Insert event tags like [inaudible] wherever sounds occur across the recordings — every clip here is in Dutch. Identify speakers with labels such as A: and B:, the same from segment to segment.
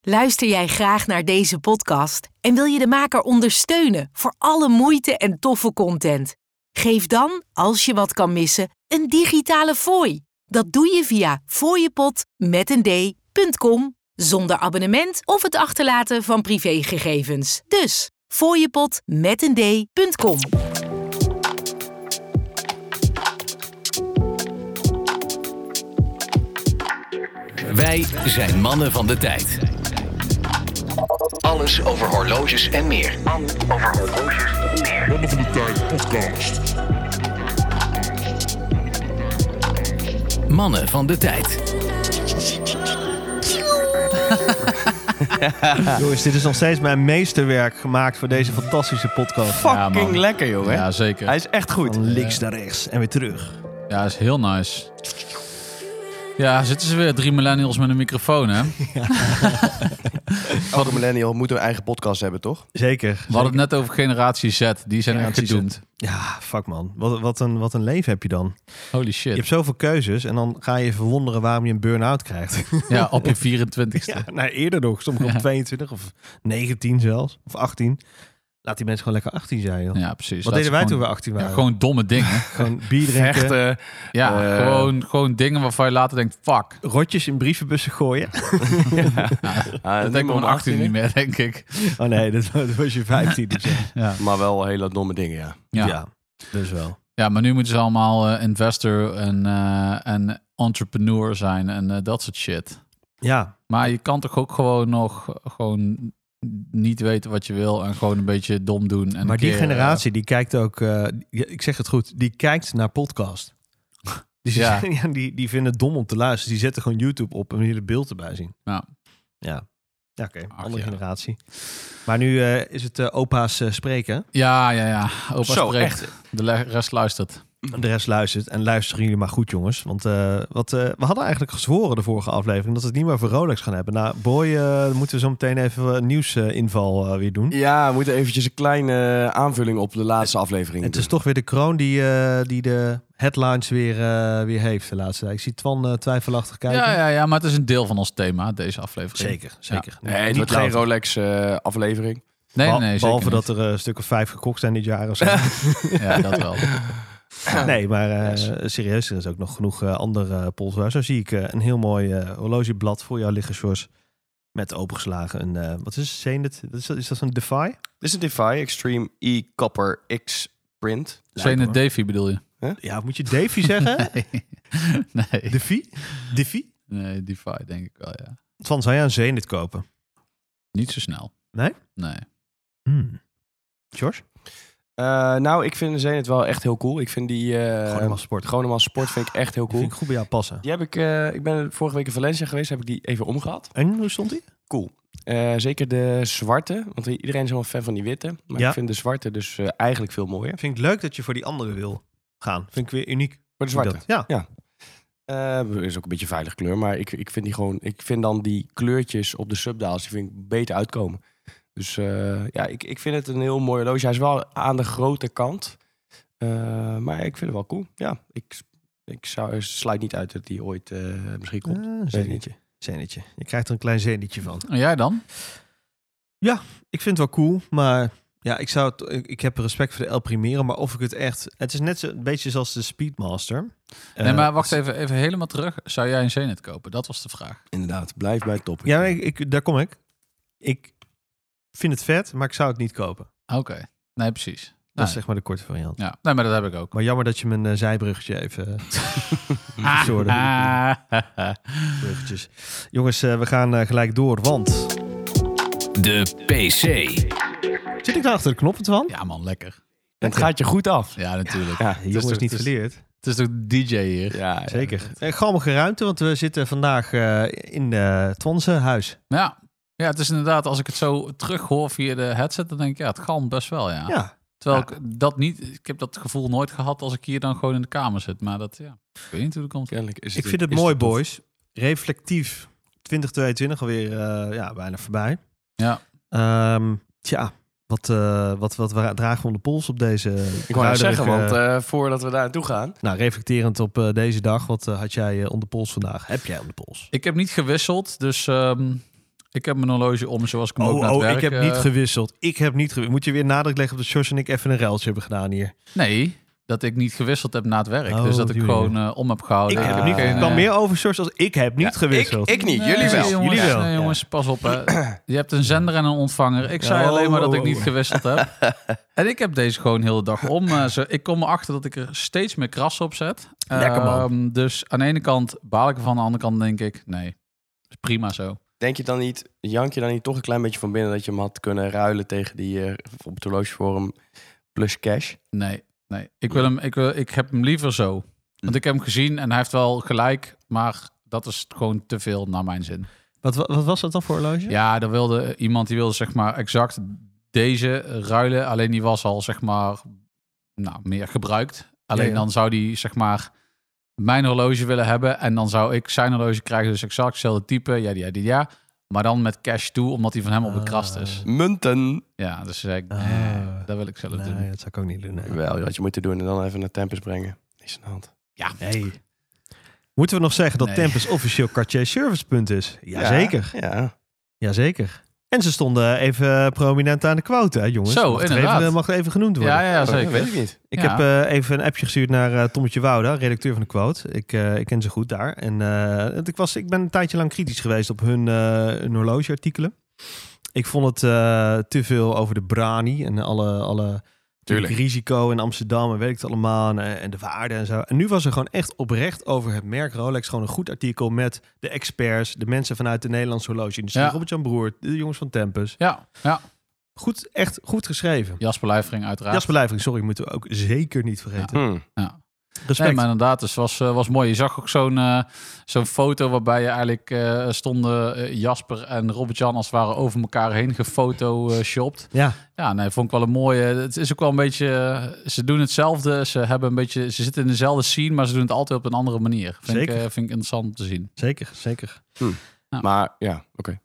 A: Luister jij graag naar deze podcast en wil je de maker ondersteunen voor alle moeite en toffe content? Geef dan, als je wat kan missen, een digitale fooi. Dat doe je via fooiepot.com zonder abonnement of het achterlaten van privégegevens. Dus fooiepot.com.
B: Wij zijn mannen van de tijd. Alles over horloges en meer.
C: Mannen van de Tijd podcast.
B: Mannen van de tijd.
D: Jongens, dit is nog steeds mijn meesterwerk gemaakt voor deze fantastische podcast.
E: Ja,
F: fucking
E: man.
F: lekker, joh. hè?
E: Ja, zeker.
F: Hij is echt goed.
D: Van links naar rechts en weer terug.
E: Ja, is heel nice. Ja, zitten ze weer drie millennials met een microfoon, hè? We
F: Elke millennial moet een eigen podcast hebben, toch?
D: Zeker.
E: hadden het net over generatie Z. Die zijn echt
D: Generatie Z.
E: gedoemd.
D: Ja, fuck man. Wat, wat, een, wat een leven heb je dan.
E: Holy
D: Je hebt
E: shit.
D: zoveel keuzes en dan ga je je verwonderen waarom je een burn-out krijgt.
E: Ja, op je 24ste.
D: [laughs] ja, nou, eerder nog. Sommigen op 22 of 19 zelfs. Of 18. Laat die mensen gewoon lekker 18 zijn. joh. Dus
E: Ja, precies. Laat
D: wat deden
E: ze
D: wij toen
E: gewoon-
D: we 18 waren?
E: Ja, gewoon domme dingen.
D: Gewoon [laughs] bier drinken.
F: Vechten.
E: Ja,
F: Eh.
E: gewoon, gewoon dingen waarvan je later denkt, fuck.
D: Rotjes in brievenbussen [laughs] gooien.
F: Ah,
E: Dat denk ik om 18 niet meer, denk ik.
D: Oh nee, dat, was- dat was je 15 of zo.
F: Maar wel hele domme dingen, ja.
E: Ja. Ja.
D: ja, dus wel.
E: maar nu moeten ze allemaal eh, investor en, eh, en entrepreneur zijn en eh, dat soort shit.
D: Ja,
E: Maar je kan toch ook gewoon nog gewoon niet weten wat je wil en gewoon een beetje dom doen. En
D: Maar
E: een
D: die
E: keer, eh,
D: generatie die kijkt ook, eh, die- ik zeg het goed, die kijkt naar podcast. [laughs] Dus Die,
E: Ja.
D: ja, die, die vinden het dom om te luisteren. Dus Die zetten gewoon YouTube op en willen beeld erbij zien.
E: Ja.
D: Ja, ja oké.
E: Ach,
D: Andere
E: ja.
D: generatie. Maar nu eh, is het eh, opa's eh, spreken.
E: eh, ja, ja, ja. Opa
F: Zo,
E: spreekt. De le- rest luistert.
D: De rest luistert. En luisteren jullie maar goed, jongens. Want eh, wat, eh, we hadden eigenlijk gezworen de vorige aflevering... dat we het niet meer voor Rolex gaan hebben. Nou, boy, eh, moeten we zo meteen even een nieuwsinval eh, weer doen.
F: Ja, we moeten eventjes een kleine eh, aanvulling op de laatste aflevering.
D: Het
F: doen.
D: is toch weer de kroon die, eh, die de headlines weer, eh, weer heeft de laatste tijd. Ik zie Twan eh, twijfelachtig kijken.
E: Ja, ja, ja, maar het is een deel van ons thema, deze aflevering.
D: Zeker, zeker.
F: Nee, het wordt geen eh, Rolex-aflevering.
E: Nee,
D: Behal-
E: nee, nee,
D: Behalve
E: zeker
D: dat er eh, een stuk of vijf gekocht zijn dit jaar of
F: [laughs]
D: zo.
E: niet. Ja, dat
D: [laughs]
E: wel.
D: nee, maar eh,
F: Yes.
D: serieus, er is ook nog genoeg eh, andere eh, polswaar. Zo zie ik eh, een heel mooi eh, horlogeblad voor jou liggen, Sjors. Met opengeslagen een, eh, wat is het, Zenit? Is dat, is dat een Defy?
F: Dit is een Defy Extreme E-Copper X-Print.
E: Zene Davy bedoel je?
D: Ja, moet je Davy
E: [laughs]
F: [laughs]
D: zeggen?
E: Nee,
D: Defy? Defy?
E: nee DeFi denk ik wel, ja.
D: Twan, zou jij een Zenit kopen?
E: Niet zo snel.
D: Nee?
E: Nee.
D: Hmm. Sjors?
F: Eh, nou, ik vind de Zenit wel echt heel cool. Ik vind die... eh
D: Gronemal Sport.
F: Gronemal Sport vind ik echt heel
D: Vind
F: cool.
D: ik goed bij jou passen.
F: Die heb ik... eh, ik ben vorige week in Valencia geweest. Heb ik die even omgehad.
D: En hoe stond die?
F: Cool. Eh, zeker de zwarte, want iedereen is helemaal fan van die witte. Maar
D: Ja.
F: ik vind de zwarte dus eh, eigenlijk veel mooier.
D: Vind ik leuk dat je voor die andere wil gaan. Vind ik weer uniek.
F: Maar de zwarte
D: Dat- Ja.
F: eh, is ook een beetje een veilig kleur. Maar ik, ik vind die gewoon, ik vind dan die kleurtjes op de subdaals, die vind ik beter uitkomen. Dus eh, ja, ik, ik vind het een heel mooi horloge. Hij is wel aan de grote kant. Eh, maar ik vind het wel cool. Ja, ik, ik zou, sluit niet uit dat die ooit eh, misschien komt.
D: Eh,
F: Weet ik
D: zenitje.
F: niet.
D: Zenitje. Je krijgt er een klein zenitje van.
E: En jij dan?
D: Ik vind het wel cool, maar ja, ik zou het, ik, ik heb respect voor de El Primera, maar of ik het echt, het is net zo een beetje zoals de Speedmaster.
E: nee,
D: Eh,
E: maar wacht even, even helemaal terug. Zou jij een Zenit kopen? Dat was de vraag.
F: Inderdaad, blijf bij het top.
D: Ja, maar ik, ik- daar kom ik. Ik vind het vet, maar ik zou het niet kopen. Dat
E: Ah, Oké. Nee, precies. Nee.
D: is zeg maar de korte variant.
E: Ja, nee, maar dat heb ik
D: [laughs]
E: ook.
D: Maar jammer dat je mijn eh, zijbruggetje even. [laughs]
E: Ah,
D: Sorry.
E: ah. [laughs]
D: bruggetjes. Jongens, eh, we gaan eh, gelijk door, want
B: De PC.
D: zit ik daar achter de knoppen van?
E: Ja, man, lekker.
F: het gaat je goed af.
E: Ja, natuurlijk.
F: Ja,
D: Hey, jongens,
F: het
D: niet
F: het
D: verleerd.
E: Het is toch DJ hier?
F: Ja, ja.
D: Zeker. Eh, Galmige ruimte, want we zitten vandaag eh, in eh Twanse huis.
E: Ja. ja, het is inderdaad, als ik het zo terughoor via de headset, dan denk ik, ja, het galmt best wel, ja.
D: ja.
E: Terwijl ik dat niet, ik heb dat gevoel nooit gehad als ik hier dan gewoon in de kamer zit. Maar dat, ja, ik weet niet hoe dat komt.
F: Kennelijk is
D: Ik vind het
F: is
D: mooi,
F: tof.
D: boys. Reflectief. 2022 alweer eh, ja, bijna voorbij.
E: Ja.
D: Ehm, tja, wat, eh, wat, wat wa- dragen we om de pols op deze...
F: Ik wou net zeggen,
D: kruiderige-
F: want eh, voordat we daar naartoe gaan...
D: Nou, reflecterend op eh, deze dag. Wat eh, had jij eh, om de pols vandaag? Heb jij om de pols?
E: Ik heb niet gewisseld, dus ehm, Ik heb mijn horloge om zoals ik hem ook naar
D: Oh,
E: het
D: oh, ik
E: werk,
D: heb
E: eh,
D: niet gewisseld. Ik heb niet gewisseld. Moet je weer nadruk leggen op dat Josh en ik even een ruiltje hebben gedaan hier.
E: Nee, dat ik niet gewisseld heb na het werk.
D: Oh,
E: dus dat
D: die
E: ik
D: manier.
E: gewoon eh, om heb gehouden.
D: Ik heb
E: Dat
D: hem niet
E: geen,
D: gewisseld. Het
E: eh,
D: kwam meer over Josh als ik heb niet gewisseld.
F: Ik, ik niet,
E: Nee,
F: jullie wel.
E: jongens,
D: Jullie wel.
E: Nee, jongens, pas op. Hè. Je hebt een zender en een ontvanger. Ik zei
D: Oh,
E: alleen maar dat
D: oh,
E: ik niet
D: oh.
E: gewisseld
D: [laughs]
E: heb. En ik heb deze gewoon heel de dag om. eh, zo- ik kom erachter dat ik er steeds meer kras op zet.
F: Lekker, man.
E: Ehm, dus aan de ene kant baal ik ervan, aan de andere kant denk ik, nee, is prima zo.
F: Denk je dan niet, jank je dan niet toch een klein beetje van binnen dat je hem had kunnen ruilen tegen die eh, op het horloge voor hem plus cash?
E: Nee, nee. Ik, wil hem, ik, wil, ik heb hem liever zo.
D: Mm.
E: Want ik heb hem gezien en hij heeft wel gelijk, maar dat is gewoon te veel naar mijn zin.
D: Wat, wa- wat was dat dan voor horloge?
E: Ja, dan wilde iemand die wilde zeg maar exact deze ruilen. Alleen die was al zeg maar nou, meer gebruikt. Alleen
D: Ja, ja.
E: dan zou die zeg maar mijn horloge willen hebben. En dan zou ik zijn horloge krijgen. Dus exact hetzelfde type. Ja, ja, ja, ja. Maar dan met cash toe, omdat die van hem op de krast is.
F: Munten.
E: Ja, dus zei ik,
D: Ah.
E: nee, dat wil ik zelf doen.
D: Nee, dat zou ik ook niet doen. nee.
F: Wel, je had je moeten doen en dan even naar Tempus brengen. Is aan de hand.
E: Ja,
D: Nee. Moeten we nog zeggen dat
E: Nee.
D: Tempus officieel Cartier servicepunt is? Jazeker.
F: Ja. Oh,
D: Jazeker. En ze stonden even prominent aan de quote, hè, jongens.
E: Zo,
D: mag het
E: inderdaad.
D: Even, eh, mag het even genoemd worden.
E: ja, ja
F: Dat weet
E: zeker.
F: ik niet.
D: Ik
E: Ja.
D: heb eh, even een appje gestuurd naar eh, Tommetje Wouda, redacteur van de quote. Ik, eh, ik ken ze goed daar. En eh, ik, was, ik ben een tijdje lang kritisch geweest op hun, eh, hun horlogeartikelen. Ik vond het eh, te veel over de brani en alle, alle
E: Tuurlijk.
D: risico in Amsterdam en weet ik het allemaal. En, eh, en de waarde en zo. En nu was er gewoon echt oprecht over het merk Rolex gewoon een goed artikel met de experts, de mensen vanuit de Nederlandse horlogeindustrie.
E: Ja.
D: Robert-Jan Broert, de jongens van Tempus.
E: Ja, ja.
D: Goed, echt goed geschreven.
E: Jasper Lijfring uiteraard.
D: Jasper Leijvering, sorry, moeten we ook zeker niet vergeten.
F: Hm.
D: Respect.
E: Nee, maar inderdaad, dus was, eh, was mooi. Je zag ook zo'n eh, zo'n foto waarbij je eigenlijk eh, stonden eh, Jasper en Robert-Jan als het ware over elkaar heen gefotoshopt.
D: Ja,
E: Ja, nee, vond ik wel een mooie. Het is ook wel een beetje, eh, ze doen hetzelfde. Ze, hebben een beetje, ze zitten in dezelfde scene, maar ze doen het altijd op een andere manier. Vind,
D: Zeker.
E: Ik, eh, vind ik interessant om te zien.
D: zeker, zeker.
F: Maar ja, oké.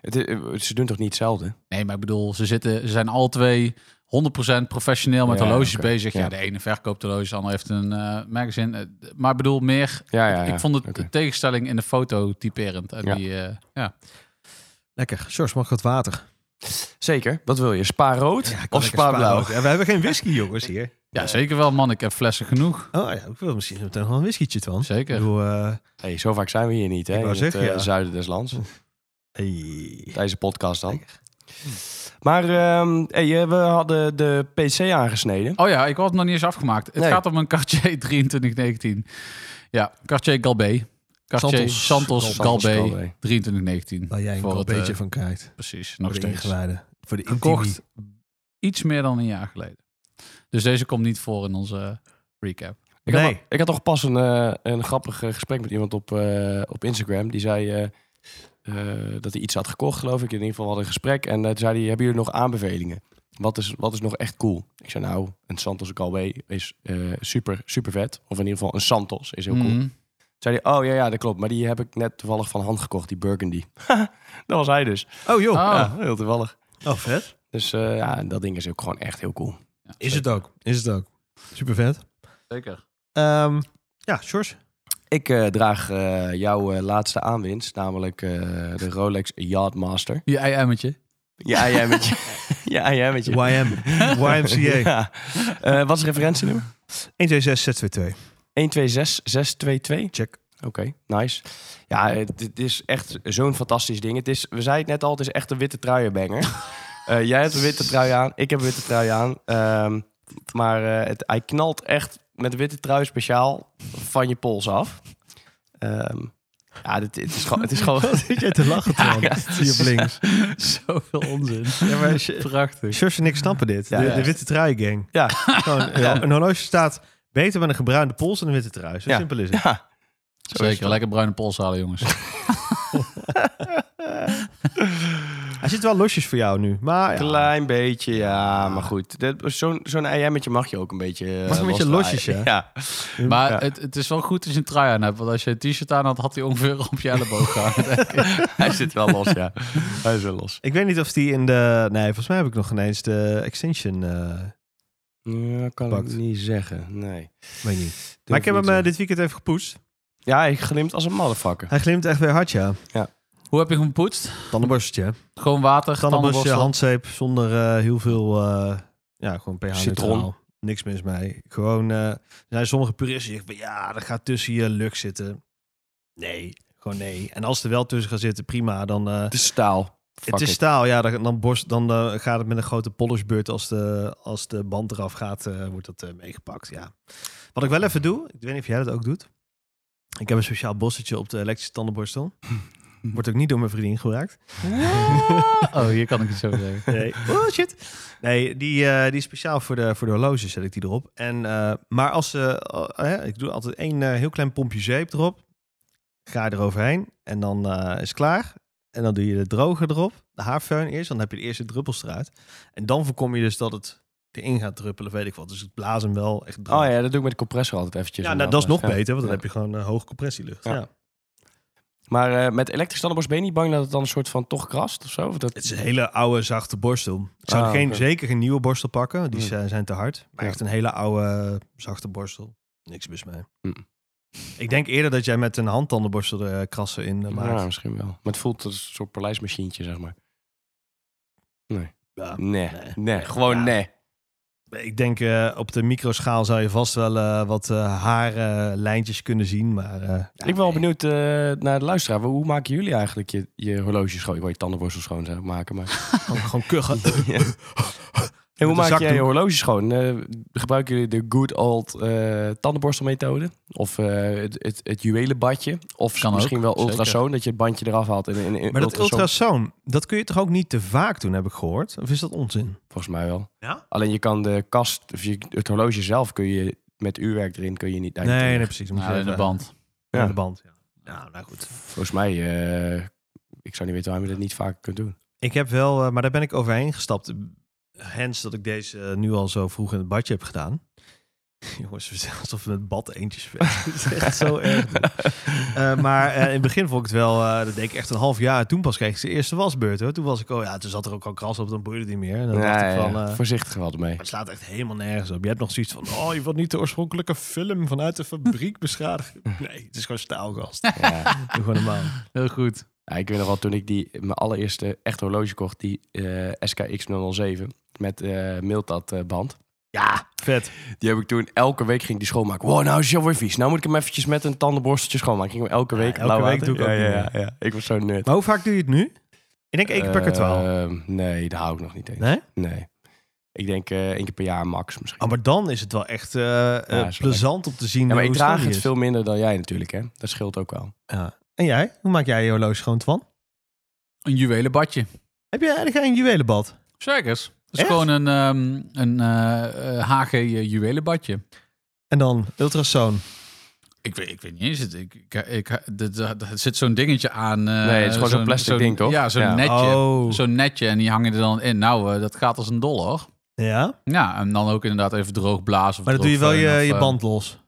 F: Het is- eh, Ze doen toch niet hetzelfde?
E: Nee, maar ik bedoel, ze, zitten, ze zijn alle twee 100% professioneel met
F: Ja,
E: horloges
F: oké.
E: bezig. Ja.
F: Ja.
E: de ene verkoopt horloges, de ander heeft een eh, magazine. Eh, Maar ik bedoel, meer
F: Ja, ja,
E: Ik-
F: ja.
E: Ik vond het
F: Oké.
E: de tegenstelling in de foto typerend. En
F: Ja.
E: Die, eh, ja.
D: Lekker. Sjors, mag ik wat water?
F: Zeker, wat wil je? Spa rood of spa blauw?
D: Ja, we hebben geen whisky, jongens, hier.
E: ja, zeker wel, man. Ik heb flessen genoeg.
D: Oh ja, ik wil misschien meteen wel een whiskytje, Twan. Ik
E: Zeker.
D: bedoel, eh,
F: Hey, zo vaak zijn we hier niet, hè?
D: Ik
F: In
D: wou
F: het
D: zeggen,
F: eh,
D: ja.
F: zuiden des lands.
D: hey.
F: Tijdens de podcast dan. Maar ehm, hey, eh, we hadden de PC aangesneden.
E: Oh ja, ik had het nog niet eens afgemaakt. Het
F: Nee.
E: gaat om een Cartier [laughs] 2319. Ja, Cartier Galbé. Cartier
D: Santos.
E: Santos, Santos
F: Santos
E: Galbé
F: Galbé.
E: 2319.
D: Waar jij een
E: Voor het,
D: beetje
E: eh,
D: van krijgt.
E: Precies,
D: Voor
E: nog
D: de
E: steeds.
D: ingewijden. Voor de
E: Gekocht iets meer dan een jaar geleden. Dus deze komt niet voor in onze recap.
F: Ik, had
D: Nee.
F: nog- ik had nog pas een, eh, een grappig eh, gesprek met iemand op, eh, op Instagram. Die zei eh, eh, dat hij iets had gekocht, geloof ik. In ieder geval we hadden een gesprek. En eh, toen zei hij, hebben jullie nog aanbevelingen? Wat is, wat is nog echt cool? Ik zei, nou, een Santos Galway is eh, super, super vet. Of in ieder geval een Santos is heel cool.
E: Mhm.
F: Zei hij, oh ja, ja, dat klopt. Maar die heb ik net toevallig van hand gekocht, die Burgundy. [laughs] dat was hij dus.
D: Oh joh.
E: Ah.
F: Ja, heel toevallig.
D: Oh, vet.
F: Dus eh, ja, dat ding is ook gewoon echt heel cool.
E: Ja,
D: Is het ook. Is het ook. Super vet.
E: Zeker.
D: Ehm, ja, Sjors.
F: Ik eh, draag eh, jouw eh, laatste aanwinst, namelijk eh, de Rolex Yachtmaster.
E: Je
D: [laughs]
E: ei-emmetje.
F: Ja, jij met je. [laughs] Ja, jij met je.
E: [laughs]
D: YM. YMCA.
F: [laughs] Ja. Eh, wat is referentienummer?
D: 126622.
F: 126622.
D: Check.
F: Oké, nice. Ja, het, het is echt zo'n fantastisch ding. Het is, we zeiden het net al, het is echt een witte
D: [laughs]
F: truienbanger. Eh jij hebt een witte trui aan, ik heb een witte trui aan. Ehm, maar eh, het, hij knalt echt met witte trui speciaal van je pols af. Ehm, ja, dit, het, is gewoon, het is
D: [laughs]
F: gewoon...
D: Zit jij te lachen, Twan?
F: ja, het
D: Zie je op links.
E: Zoveel onzin.
D: Ja, maar Sj-
E: [laughs] Prachtig.
D: Sjors en ik snappen dit.
F: Ja,
D: de,
F: ja.
D: de witte trui gang.
F: [laughs] Ja.
D: Gewoon, eh, Een horloge staat beter met een gebruinde pols dan een witte trui. Zo
F: Ja.
D: simpel is het.
F: Ja,
E: Zeker. Lekker bruine pols halen, jongens.
D: Hij zit wel losjes voor jou nu. Maar Ah, ja, Ah.
F: Klein beetje, ja, maar goed. Dit- Zo'n zo'n eiemmetje mag je ook een beetje. eh,
D: Mag een beetje
F: losdraaien.
D: losjes, hè?
F: Ja.
E: Maar
F: Ja.
E: het, het is wel goed als je een trui aan hebt. Want als je een t-shirt aan had, had hij ongeveer op je elleboog [laughs] gehangen.
F: [laughs] Hij zit wel los, ja. Hij is wel los.
D: ik weet niet of die in de... Nee, volgens mij heb ik nog geen eens de extension. eh,
F: Ja, kan
D: Pakt.
F: ik niet zeggen. Nee.
D: weet niet. Maar eh,
F: eh.
D: ik heb hem eh, dit weekend even gepoest.
F: Ja, hij glimt als een motherfucker.
D: Hij glimt echt weer hard, ja.
F: Ja.
D: Hoe
E: Hoe heb je hem gepoetst?
D: Tandenborsteltje. hè?
E: Gewoon water,
D: Tandenborsteltje,
E: tandenborstel.
D: handzeep zonder eh, heel veel, eh, ja, gewoon ph
F: Citron.
D: neutraal. Niks mis mee. Gewoon, eh, er zijn sommige puristen die zeggen, ja, dat gaat tussen je luk zitten. Nee, gewoon nee. En als er wel tussen gaat zitten, prima, dan... eh,
F: Het is staal.
D: het is staal, ja. Dan, dan, borst, dan eh, gaat het met een grote polishbeurt. Als de, als de band eraf gaat, eh, wordt dat eh, meegepakt, ja. Wat ik wel even doe, ik weet niet of jij dat ook doet. Ik heb een speciaal bossetje op de elektrische tandenborstel. Wordt ook niet door mijn vriendin gebruikt.
E: [laughs] Oh, hier kan ik het zo
D: [laughs]
E: zeggen.
D: Nee. Oh shit. Nee, die, eh, die is speciaal voor de, voor de horloges zet ik die erop. En, eh, maar als ze, oh, eh, ik doe altijd één eh, heel klein pompje zeep erop. Ga eroverheen en dan eh, is het klaar. En dan doe je de droger erop, de haarfeun eerst. Dan heb je de eerste druppels eruit. En dan voorkom je dus dat het erin gaat druppelen, weet ik wat. Dus het blazen hem wel echt droog.
F: Oh ja, dat doe ik met de compressor altijd eventjes.
D: Ja, nou, dat is nog
F: Ja.
D: beter, want dan heb
F: Ja.
D: je gewoon eh, hoge compressielucht.
F: Ja.
D: Ja.
F: Maar eh, met elektrisch tandenborst ben je niet bang dat het dan een soort van toch krast of zo? Of dat...
D: Het is een hele oude, zachte borstel. Ik zou
F: Ah,
D: geen,
F: oké.
D: zeker geen nieuwe borstel pakken. Die
F: Hmm.
D: zijn, zijn te hard. Maar
F: Ja.
D: echt een hele oude, zachte borstel. Niks mis mee.
F: Hmm.
D: Ik denk eerder dat jij met een handtandenborstel er eh, krassen in eh, maakt.
F: Ja, misschien wel. Maar het voelt als een soort paleismachientje, zeg maar.
D: Ja. Nee.
F: Nee, nee, gewoon
D: Ja.
F: nee.
D: Ik denk eh, op de microschaal zou je vast wel eh, wat eh, haarlijntjes kunnen zien. Maar, eh, ja,
F: ik ben wel
D: nee.
F: benieuwd eh, naar de luisteraar. Hoe maken jullie eigenlijk je, je horloge schoon? Ik wil je tandenborstel schoon zeg, maken, maar...
D: [laughs] Gewoon, gewoon
F: [laughs]
D: kuchen. [laughs]
F: Ja. En hoe
D: Met een
F: maak jij je
D: zakdoek.
F: horloge schoon? Eh, gebruiken jullie de good old eh, tandenborstelmethode? Of eh, het, het, het juwelenbadje? Of
E: Kan ook,
F: misschien wel
E: zeker.
F: ultrasoon, dat je het bandje eraf haalt. En, en, en
D: maar dat
F: ultrasoon-
D: ultrasoon, dat kun je toch ook niet te vaak doen, heb ik gehoord? Of is dat onzin?
F: Volgens mij wel.
D: Ja?
F: Alleen je kan de kast, of je, het horloge zelf kun je met uurwerk erin, kun je niet uit.
D: Nee, nee, precies. Dan Moet
E: Nou,
D: je
E: in de
D: even-
E: band.
D: Ja,
F: Ja.
D: de band. Ja. Nou, nou goed.
F: Volgens mij, eh, ik zou niet weten waarom je dat niet vaak kunt doen.
D: Ik heb wel, eh, maar daar ben ik overheen gestapt. Hens dat ik deze eh, nu al zo vroeg in het badje heb gedaan. [laughs] Jongens, we zijn alsof we met bad eentjes [laughs] spelen. Het is echt zo erg. dit. Eh, maar eh, in het begin vond ik het wel, eh, dat deed ik echt een half jaar. Toen pas kreeg ik zijn eerste wasbeurt. Hoor. Toen was ik, oh ja, toen zat er ook al kras op, dan boeide het niet meer. En dan dacht
F: Ja,
D: ik
F: ja,
D: van, eh,
F: Voorzichtig wel mee.
D: het slaat echt helemaal nergens op. Je hebt nog zoiets van, oh, je wordt niet de oorspronkelijke film vanuit de fabriek [laughs] beschadigd. Nee, het is gewoon staalgast.
F: Ja.
D: Doe gewoon normaal.
E: Heel goed.
F: Ja, ik weet nog wel, toen ik die, mijn allereerste echt horloge kocht, die eh, SKX007 met eh Miltad eh, band. Ja,
D: Vet.
F: die heb ik toen elke week ging ik die schoonmaken. Wow, nou is hij alweer vies. Nou moet ik hem eventjes met een tandenborsteltje schoonmaken. Ik ging hem elke week
D: elke
F: blauw
D: week
F: water.
D: doe ik
F: ja,
D: ook
F: ja,
D: niet
F: ja, ja. Ik was zo nerd.
D: Maar hoe vaak doe je het nu? Ik denk één keer per kwartaal.
F: Ehm, nee, daar hou ik nog niet eens.
D: Nee?
F: Nee. Ik denk eh één keer per jaar max misschien.
D: Oh, maar dan is het wel echt eh, eh,
F: wel lekker.
D: plezant om te zien.
F: ja, maar ik
D: hoe
F: draag
D: slim
F: het
D: die
F: veel minder dan jij natuurlijk, hè. Dat scheelt ook wel.
D: is. Ja. En jij? Hoe maak jij je horloge schoon van?
E: Een juwelenbadje.
D: Heb jij eigenlijk een juwelenbad?
E: Zeker. Het is
D: Echt?
E: gewoon een, ehm, een eh, eh, HG juwelenbadje.
D: En dan ultrasoon.
E: Ik weet, ik weet niet eens. Het, ik, ik, ik, er- er- er zit zo'n dingetje aan. eh,
F: Nee, het is gewoon zo'n plastic ding, toch?
E: Ja, zo'n
F: Ja.
E: netje.
D: Oh.
E: Zo'n netje en die hangen er dan in. Nou, eh, dat gaat als een dollar.
D: Ja,
E: Ja, en dan ook inderdaad even droog blazen. Of
D: maar dan doe je wel je,
E: droogveun of,
D: je
E: eh,
D: band los.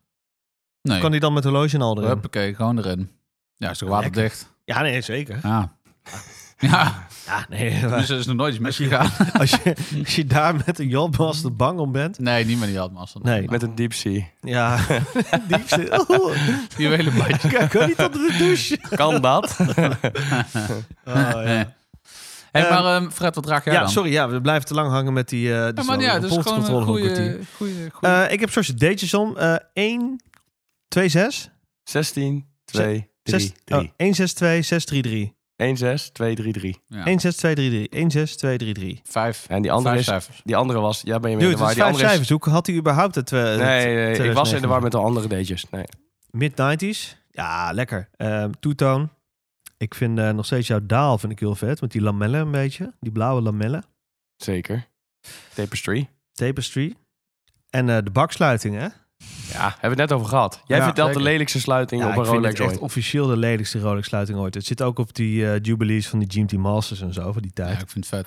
E: Nee,
D: Kan die dan met horloge en al erin?
E: Huppakee, gewoon erin. Ja, is toch waterdicht?
D: Ja, nee,
F: [laughs]
D: zeker.
E: Ja.
D: [laughs]
E: Ja,
D: Ja, nee.
E: dus er is nog nooit iets
D: [laughs]
E: misgegaan.
D: als, je, als je daar met een jobmas te bang om bent.
E: Nee, niet met die Admaster.
D: Nee.
E: met
F: Met een deep sea.
D: Ja,
F: [laughs]
D: [laughs] diepste. Oeh, [laughs]
E: juwelenbadje.
D: ik kan niet onder de
F: [laughs]
D: douche. [laughs]
F: Kan dat?
D: Oh, ja.
E: Hey,
D: Ehm,
E: maar ehm, Fred, wat draag jij
D: ja,
E: dan?
D: sorry, ja, we blijven te lang hangen met die. eh
E: Ja,
D: dus
E: maar
D: dan
E: ja,
D: een
E: het is gewoon een
D: volkscontrole van een
E: goede...
D: kwartier.
E: goede, goede-
D: Eh, ik heb zo'n deetjes om. eh 1, 2, 6.
F: 16, 2, 3,
D: 6,
F: 3.
D: 162-633.
F: 1, 6, 2, 3, 3.
E: ja.
D: 16233. 16233.
E: Vijf.
F: En die andere,
E: vijf
F: is,
E: cijfers.
F: die andere was... Ja, ben je
D: Dude,
F: mee in de
D: het
F: war.
D: is
F: Die
D: vijf
F: andere
D: cijfers.
F: is,
D: Hoe had hij überhaupt het... eh,
F: nee,
D: het
F: nee, nee, ik was in de war
D: 2009?
F: met de andere deetjes. Nee.
D: Mid-90s. Ja, lekker. Ehm Toetoon. Ik vind eh, nog steeds jouw daal vind ik heel vet. Met die lamellen een beetje. Die blauwe lamellen.
F: Zeker. Tapestry.
D: Tapestry. En eh, de baksluiting, hè?
F: Ja, hebben we het net over gehad. Jij
D: Ja,
F: vertelt
E: zeker.
F: de lelijkste sluiting
D: Ja,
F: op
D: ik
F: een
D: vind
F: Rolex
D: het echt
F: ooit.
D: officieel de lelijkste Rolex-sluiting ooit. Het zit ook op die eh, jubilees van die GMT Masters en zo, van die
E: Ja,
D: tijd.
E: ik vind het vet.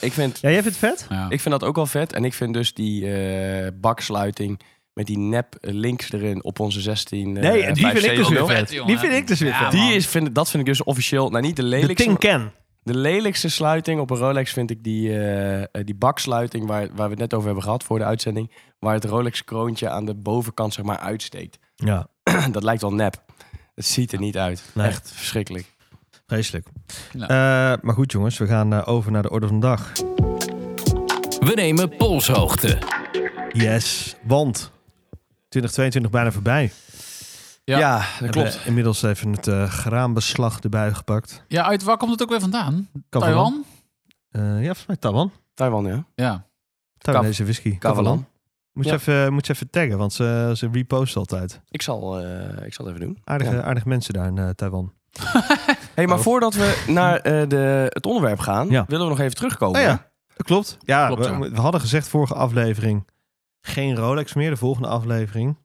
F: Ik vind,
D: Ja, jij vindt het vet?
E: Ja.
F: ik vind dat ook wel vet. En ik vind dus die eh, baksluiting met die nep links erin op onze 16. eh,
D: Nee, en die vind ik dus
F: 570.
D: weer
E: vet,
D: vet.
E: jongen.
D: Die vind ik dus weer
E: Ja,
D: vet.
E: man.
F: Die is, vind, dat vind ik dus officieel, nou niet de
D: De
F: lelijkste,
D: Tin Can.
F: De lelijkste sluiting op een Rolex vind ik die, eh, eh, die baksluiting waar, waar we het net over hebben gehad voor de uitzending. Waar het Rolex kroontje aan de bovenkant zeg maar uitsteekt. [clears throat]
D: Ja.
F: dat lijkt wel nep. Het ziet er niet uit.
D: Nee.
F: Echt verschrikkelijk.
D: Vreselijk.
E: Ja.
D: Eh, maar goed jongens, we gaan eh, over naar de orde van de dag.
B: We nemen polshoogte.
D: Yes, want 2022 bijna voorbij.
E: Ja.
F: dat
D: Hebben
F: klopt.
D: we Inmiddels even het eh, graanbeslag erbij gepakt.
E: Ja, uit waar komt het ook weer vandaan?
D: Kavalan.
E: Taiwan?
D: Eh, ja, volgens mij Taiwan.
F: Taiwan, ja.
E: Ja.
D: Taiwanese whisky.
F: Kavalan.
D: Moet,
F: Ja.
D: je even, eh, moet je even taggen, want ze, ze reposten altijd.
F: Ik zal, eh, ik zal het even doen.
D: Aardige,
F: Ja.
D: aardige mensen daar in eh, Taiwan.
F: hey, maar
D: Oh.
F: voordat we naar eh, de, het onderwerp gaan,
D: Ja.
F: willen we nog even terugkomen.
D: Oh ja, dat klopt. Ja,
E: Klopt,
D: we,
E: ja.
D: we hadden gezegd vorige aflevering geen Rolex meer. De volgende aflevering.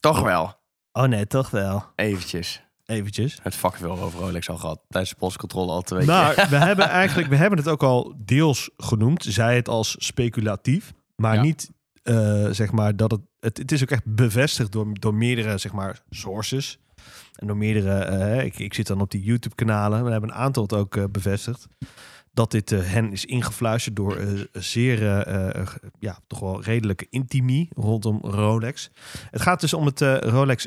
F: Toch wel.
D: Oh nee, toch wel.
F: Eventjes.
D: Eventjes.
F: Het vak wel over Rolex al gehad. Tijdens de postcontrole al twee keer.
D: Nou, we hebben eigenlijk we hebben het ook al deels genoemd. Zij het als speculatief, maar
E: Ja.
D: niet eh, zeg maar dat het, het. Het is ook echt bevestigd door, door meerdere zeg maar sources. En door meerdere. eh, ik, ik zit dan op die YouTube-kanalen. We hebben een aantal het ook eh, bevestigd. Dat dit eh, hen is ingefluisterd door eh, zeer, eh, eh, ja, toch wel redelijke intimie rondom Rolex. Het gaat dus om het eh, Rolex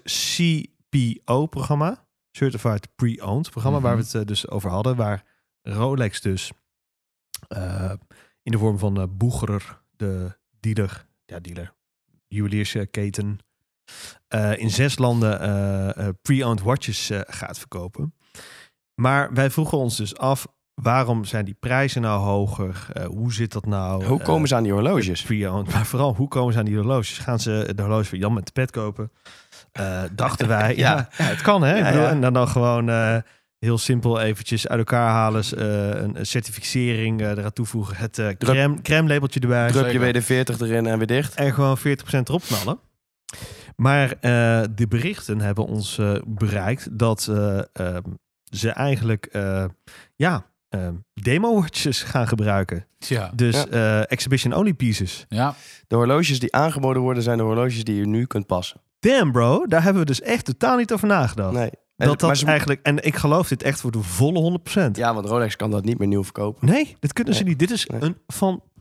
D: CPO-programma. Certified Pre-Owned programma, waar we het eh, dus over hadden. Waar Rolex dus eh, in de vorm van eh Boegerer, de dealer, ja dealer, juweliersketen, eh, in zes landen eh, eh, pre-owned watches eh, gaat verkopen. Maar wij vroegen ons dus af, waarom zijn die prijzen nou hoger? Eh, hoe zit dat nou?
F: Hoe
D: Eh,
F: komen ze aan die horloges?
D: pre-owned. Maar vooral, hoe komen ze aan die horloges? Gaan ze de horloge van Jan met de pet kopen? Eh, dachten
F: [laughs]
D: wij. ja.
F: Ja.
D: ja, het kan hè. Ik
F: Ja,
D: bedoel,
F: ja.
D: En dan, dan gewoon eh, heel simpel eventjes uit elkaar halen. eh, een, een certificering eh, eraan toevoegen. Het eh crème, crème labeltje erbij.
F: Drup je
E: zeker.
F: weer de 40 erin en weer dicht.
D: En gewoon 40% erop knallen. Maar eh, de berichten hebben ons eh, bereikt dat eh, ehm, ze eigenlijk eh, ja, ehm, demo-watches gaan gebruiken.
E: Ja.
D: Dus
F: Ja.
D: eh, exhibition-only pieces.
E: Ja.
F: De horloges die aangeboden worden zijn de horloges die je nu kunt passen.
D: damn bro, daar hebben we dus echt totaal niet over
E: Oh.
D: nagedacht.
F: Nee. En-
D: Dat
F: maar
D: dat
F: ze-
D: eigenlijk, en ik geloof dit echt voor de volle 100%.
F: Ja, want Rolex kan dat niet meer nieuw verkopen.
D: Nee, dit kunnen ze
F: Nee.
D: niet. Dit is
F: Nee.
D: een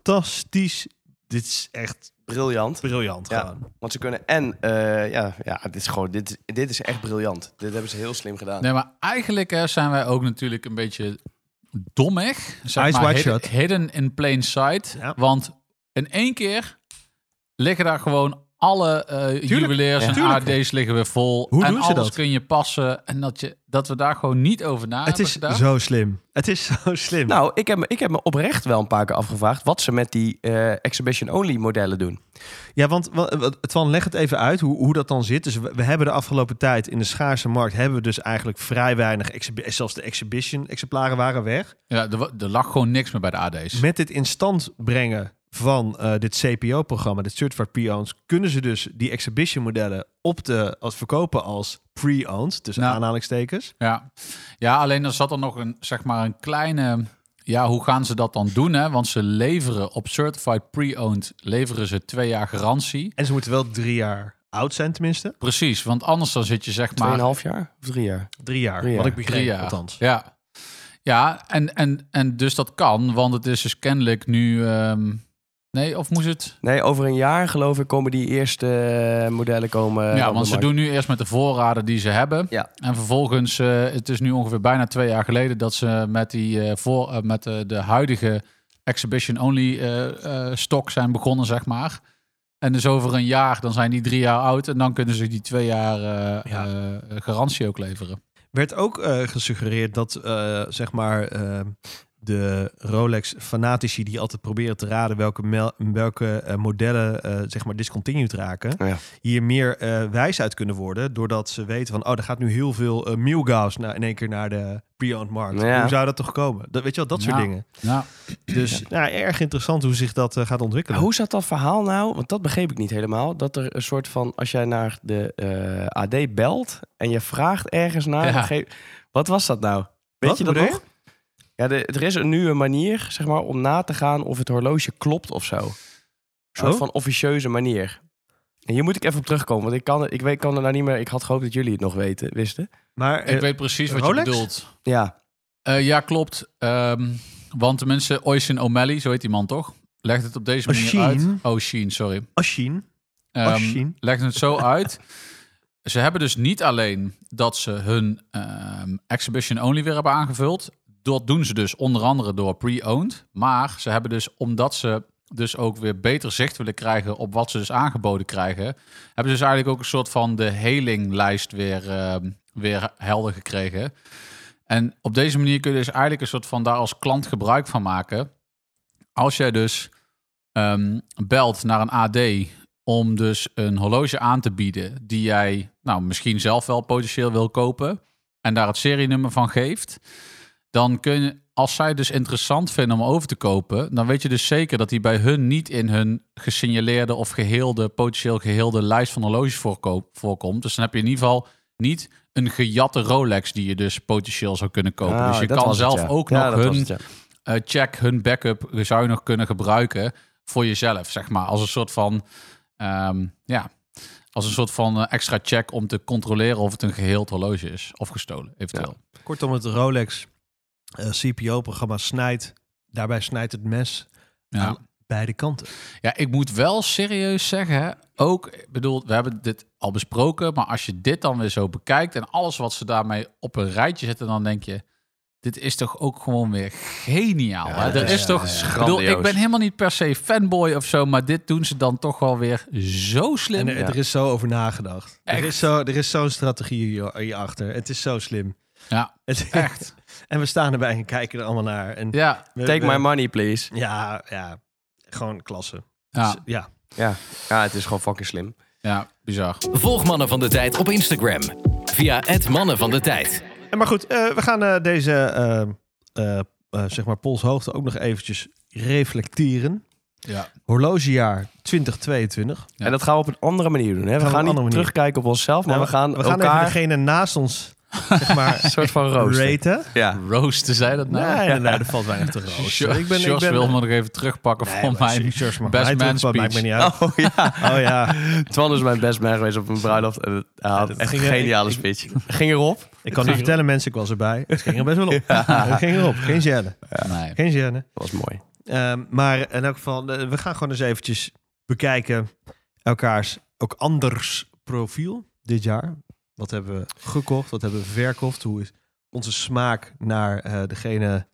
D: fantastisch, dit is echt
F: Briljant.
D: briljant
F: Ja.
D: gewoon.
F: Want ze kunnen en, eh, ja, ja dit, is gewoon, dit, dit is echt briljant. Dit hebben ze heel slim gedaan.
E: Nee, maar eigenlijk hè, zijn wij ook natuurlijk een beetje dommig. Zeg
D: Eyes
E: maar,
D: wide
E: hidden,
D: shut.
E: hidden in plain sight.
D: Ja.
E: Want in één keer liggen daar gewoon alle eh juweliers en
D: tuurlijk.
E: AD's liggen weer vol.
D: Hoe
E: en
D: doen ze
E: alles
D: dat?
E: kun je passen. En dat, je, dat we daar gewoon niet over na
D: Het
E: hebben
D: is
E: gedaan.
D: zo slim. Het is [laughs] zo slim.
F: Nou, ik heb, me- ik heb me oprecht wel een paar keer afgevraagd wat ze met die eh, exhibition-only modellen doen.
D: Ja, want wa- wa- Twan, leg het even uit hoe, hoe dat dan zit. Dus we, we hebben de afgelopen tijd in de schaarse markt... hebben we dus eigenlijk vrij weinig... exhibi- zelfs de exhibition-exemplaren waren weg.
E: Ja, er, wa- er lag gewoon niks meer bij de AD's.
D: Met dit in stand brengen van eh, dit CPO-programma, dit Certified Pre-Owned, kunnen ze dus die exhibition-modellen op de, als verkopen als pre-owned, tussen
E: Nou.
D: aanhalingstekens.
E: Ja. ja, alleen er zat er nog een, zeg maar een kleine... Ja, hoe gaan ze dat dan doen? Hè? Want ze leveren op Certified Pre-Owned... leveren ze twee jaar garantie.
D: En ze moeten wel drie jaar oud zijn, tenminste.
E: Precies, want anders dan zit je zeg maar...
F: Tweeënhalf jaar of drie jaar?
D: Drie jaar,
F: Drie
D: wat
F: jaar.
D: ik begreep
E: Drie jaar.
D: althans.
E: Ja, ja en, en, en dus dat kan, want het is dus kennelijk nu... ehm, nee, of moest het?
F: Nee, over een jaar geloof ik komen die eerste eh, modellen komen. eh, op
E: ja,
F: de
E: want ze
F: markt.
E: doen nu eerst met de voorraden die ze hebben.
F: Ja.
E: En vervolgens, eh, het is nu ongeveer bijna twee jaar geleden... dat ze met, die, eh, voor, eh, met de, de huidige exhibition-only eh, eh, stok zijn begonnen, zeg maar... En dus over een jaar, dan zijn die drie jaar oud. En dan kunnen ze die twee jaar eh,
D: Ja.
E: eh, garantie ook leveren.
D: Werd ook eh, gesuggereerd dat, eh, zeg maar, eh, de Rolex-fanatici die altijd proberen te raden welke, mel- welke eh, modellen, eh, zeg maar, discontinued raken,
F: Ja.
D: hier meer eh, wijs uit kunnen worden, doordat ze weten van, oh, er gaat nu heel veel eh Milgauss na- in één keer naar de pre-owned markt.
F: Ja.
D: Hoe zou dat toch komen? Dat, weet je wel, dat soort
E: Ja.
D: dingen.
E: Nou. Ja.
D: Dus ja, erg interessant hoe zich dat eh, gaat ontwikkelen.
F: Hoe zat dat verhaal nou? Want dat begreep ik niet helemaal. Dat er een soort van, als jij naar de eh, AD belt en je vraagt ergens naar.
E: Ja.
F: dan geef- Wat was dat nou? Weet
D: Wat
F: je dat
D: bedoel je?
F: nog? Ja, de- er is een, nu een manier, zeg maar, om na te gaan of het horloge klopt of zo. Een soort
D: Oh.
F: van officieuze manier. En hier moet ik even op terugkomen, want ik kan, ik weet, kan er nou niet meer... Ik had gehoopt dat jullie het nog weten, wisten.
D: Maar eh,
E: Ik weet precies wat
D: Rolex?
E: je bedoelt.
F: Ja,
E: Eh, ja, klopt. Ehm, want tenminste, Oisin O'Malley, zo heet die man toch? Legt het op deze manier
D: Oisin.
E: uit. Oisin, sorry.
D: Oshin,
E: Ehm
D: Oisin.
E: legt het zo uit ze hebben dus niet alleen dat ze hun ehm, exhibition only weer hebben aangevuld. Dat doen ze dus onder andere door pre-owned. Maar ze hebben dus, omdat ze dus ook weer beter zicht willen krijgen op wat ze dus aangeboden krijgen, hebben ze dus eigenlijk ook een soort van de helinglijst weer, ehm, weer helder gekregen. En op deze manier kun je dus eigenlijk een soort van daar als klant gebruik van maken. Als jij dus ehm, belt naar een AD om dus een horloge aan te bieden die jij nou, misschien zelf wel potentieel wil kopen en daar het serienummer van geeft, dan kun je, als zij het dus interessant vinden om over te kopen, dan weet je dus zeker dat die bij hun niet in hun gesignaleerde of geheelde, potentieel geheelde lijst van horloges voorko- voorkomt. Dus dan heb je in ieder geval niet een gejatte Rolex die je dus potentieel zou kunnen kopen.
F: Ah,
E: dus je
F: dat
E: kan
F: was het,
E: zelf
F: ja.
E: ook
F: Ja,
E: nog
F: dat was
E: hun
F: het, ja.
E: eh, check hun backup zou je nog kunnen gebruiken voor jezelf, zeg maar. Als een soort van, ehm, ja, als een soort van eh, extra check om te controleren of het een geheeld horloge is of gestolen, eventueel.
D: Kortom, het Rolex eh, CPO-programma snijdt, daarbij snijdt het mes
E: Ja.
D: aan
E: Ja.
D: beide kanten.
E: ik moet wel serieus zeggen, ook, ik bedoel, we hebben dit al besproken, maar als je dit dan weer zo bekijkt en alles wat ze daarmee op een rijtje zetten, dan denk je, dit is toch ook gewoon weer geniaal. hè?
F: het
E: Er
F: is-
E: is toch,
F: ja, ja.
E: ik bedoel, ik
F: Grandioos.
E: ben helemaal niet per se fanboy of zo, maar dit doen ze dan toch wel weer zo slim.
D: En er,
F: Ja.
D: er is zo over nagedacht. Er
E: Echt.
D: is, zo, er is zo'n strategie hier- hierachter. Het is zo slim. [laughs]
E: Ja,
D: Het,
E: echt.
D: [laughs] en we staan erbij en kijken er allemaal naar. En
E: Ja,
D: we-
F: Take
D: we-
F: my money, please.
D: Ja, ja. Gewoon klasse.
E: ja,
D: Dus, ja.
F: Ja. ja, het is gewoon fucking slim.
E: ja bizar.
B: Volg Mannen van de Tijd op Instagram via het Mannen van de Tijd.
D: En maar goed, eh, we gaan eh, deze eh, eh, eh, zeg maar polshoogte ook nog eventjes reflecteren.
E: Ja.
D: Horlogejaar 2022.
E: Ja.
F: En dat gaan we op een andere manier doen. Hè? We
D: op een
F: gaan niet
D: andere manier.
F: terugkijken op onszelf, maar
D: Nou,
F: we gaan,
D: we gaan
F: elkaar
D: even degene naast ons
F: [laughs]
D: zeg maar
F: een soort van rooster.
D: raten.
F: Ja.
E: Roosten zei dat nou?
D: Nee, nee, nee, er valt
E: [laughs]
D: weinig te roosten.
E: George, George wil me nog even terugpakken
D: Nee,
E: van
D: maar
E: mijn
D: George mag mij
E: best man
D: terugpakken,
E: speech.
D: Maakt me niet uit.
F: Oh
D: [laughs]
F: ja,
D: Oh ja,
F: Twan is mijn best man geweest op een bruiloft. En het- hij had
D: dat
F: echt een
D: ging, eh,
F: geniale
D: ik-
F: speech. Ging erop.
D: ik kan niet vertellen mensen, ik was erbij. Het ging er best wel
F: [laughs]
D: op. [laughs] Het ging erop. Geen gêne.
E: Nee.
D: Geen gêne.
F: Dat was mooi.
D: Ehm, maar in elk geval, eh, we gaan gewoon eens eventjes bekijken elkaars ook anders profiel dit jaar. Wat hebben we gekocht? Wat hebben we verkocht? Hoe is onze smaak naar eh, degene...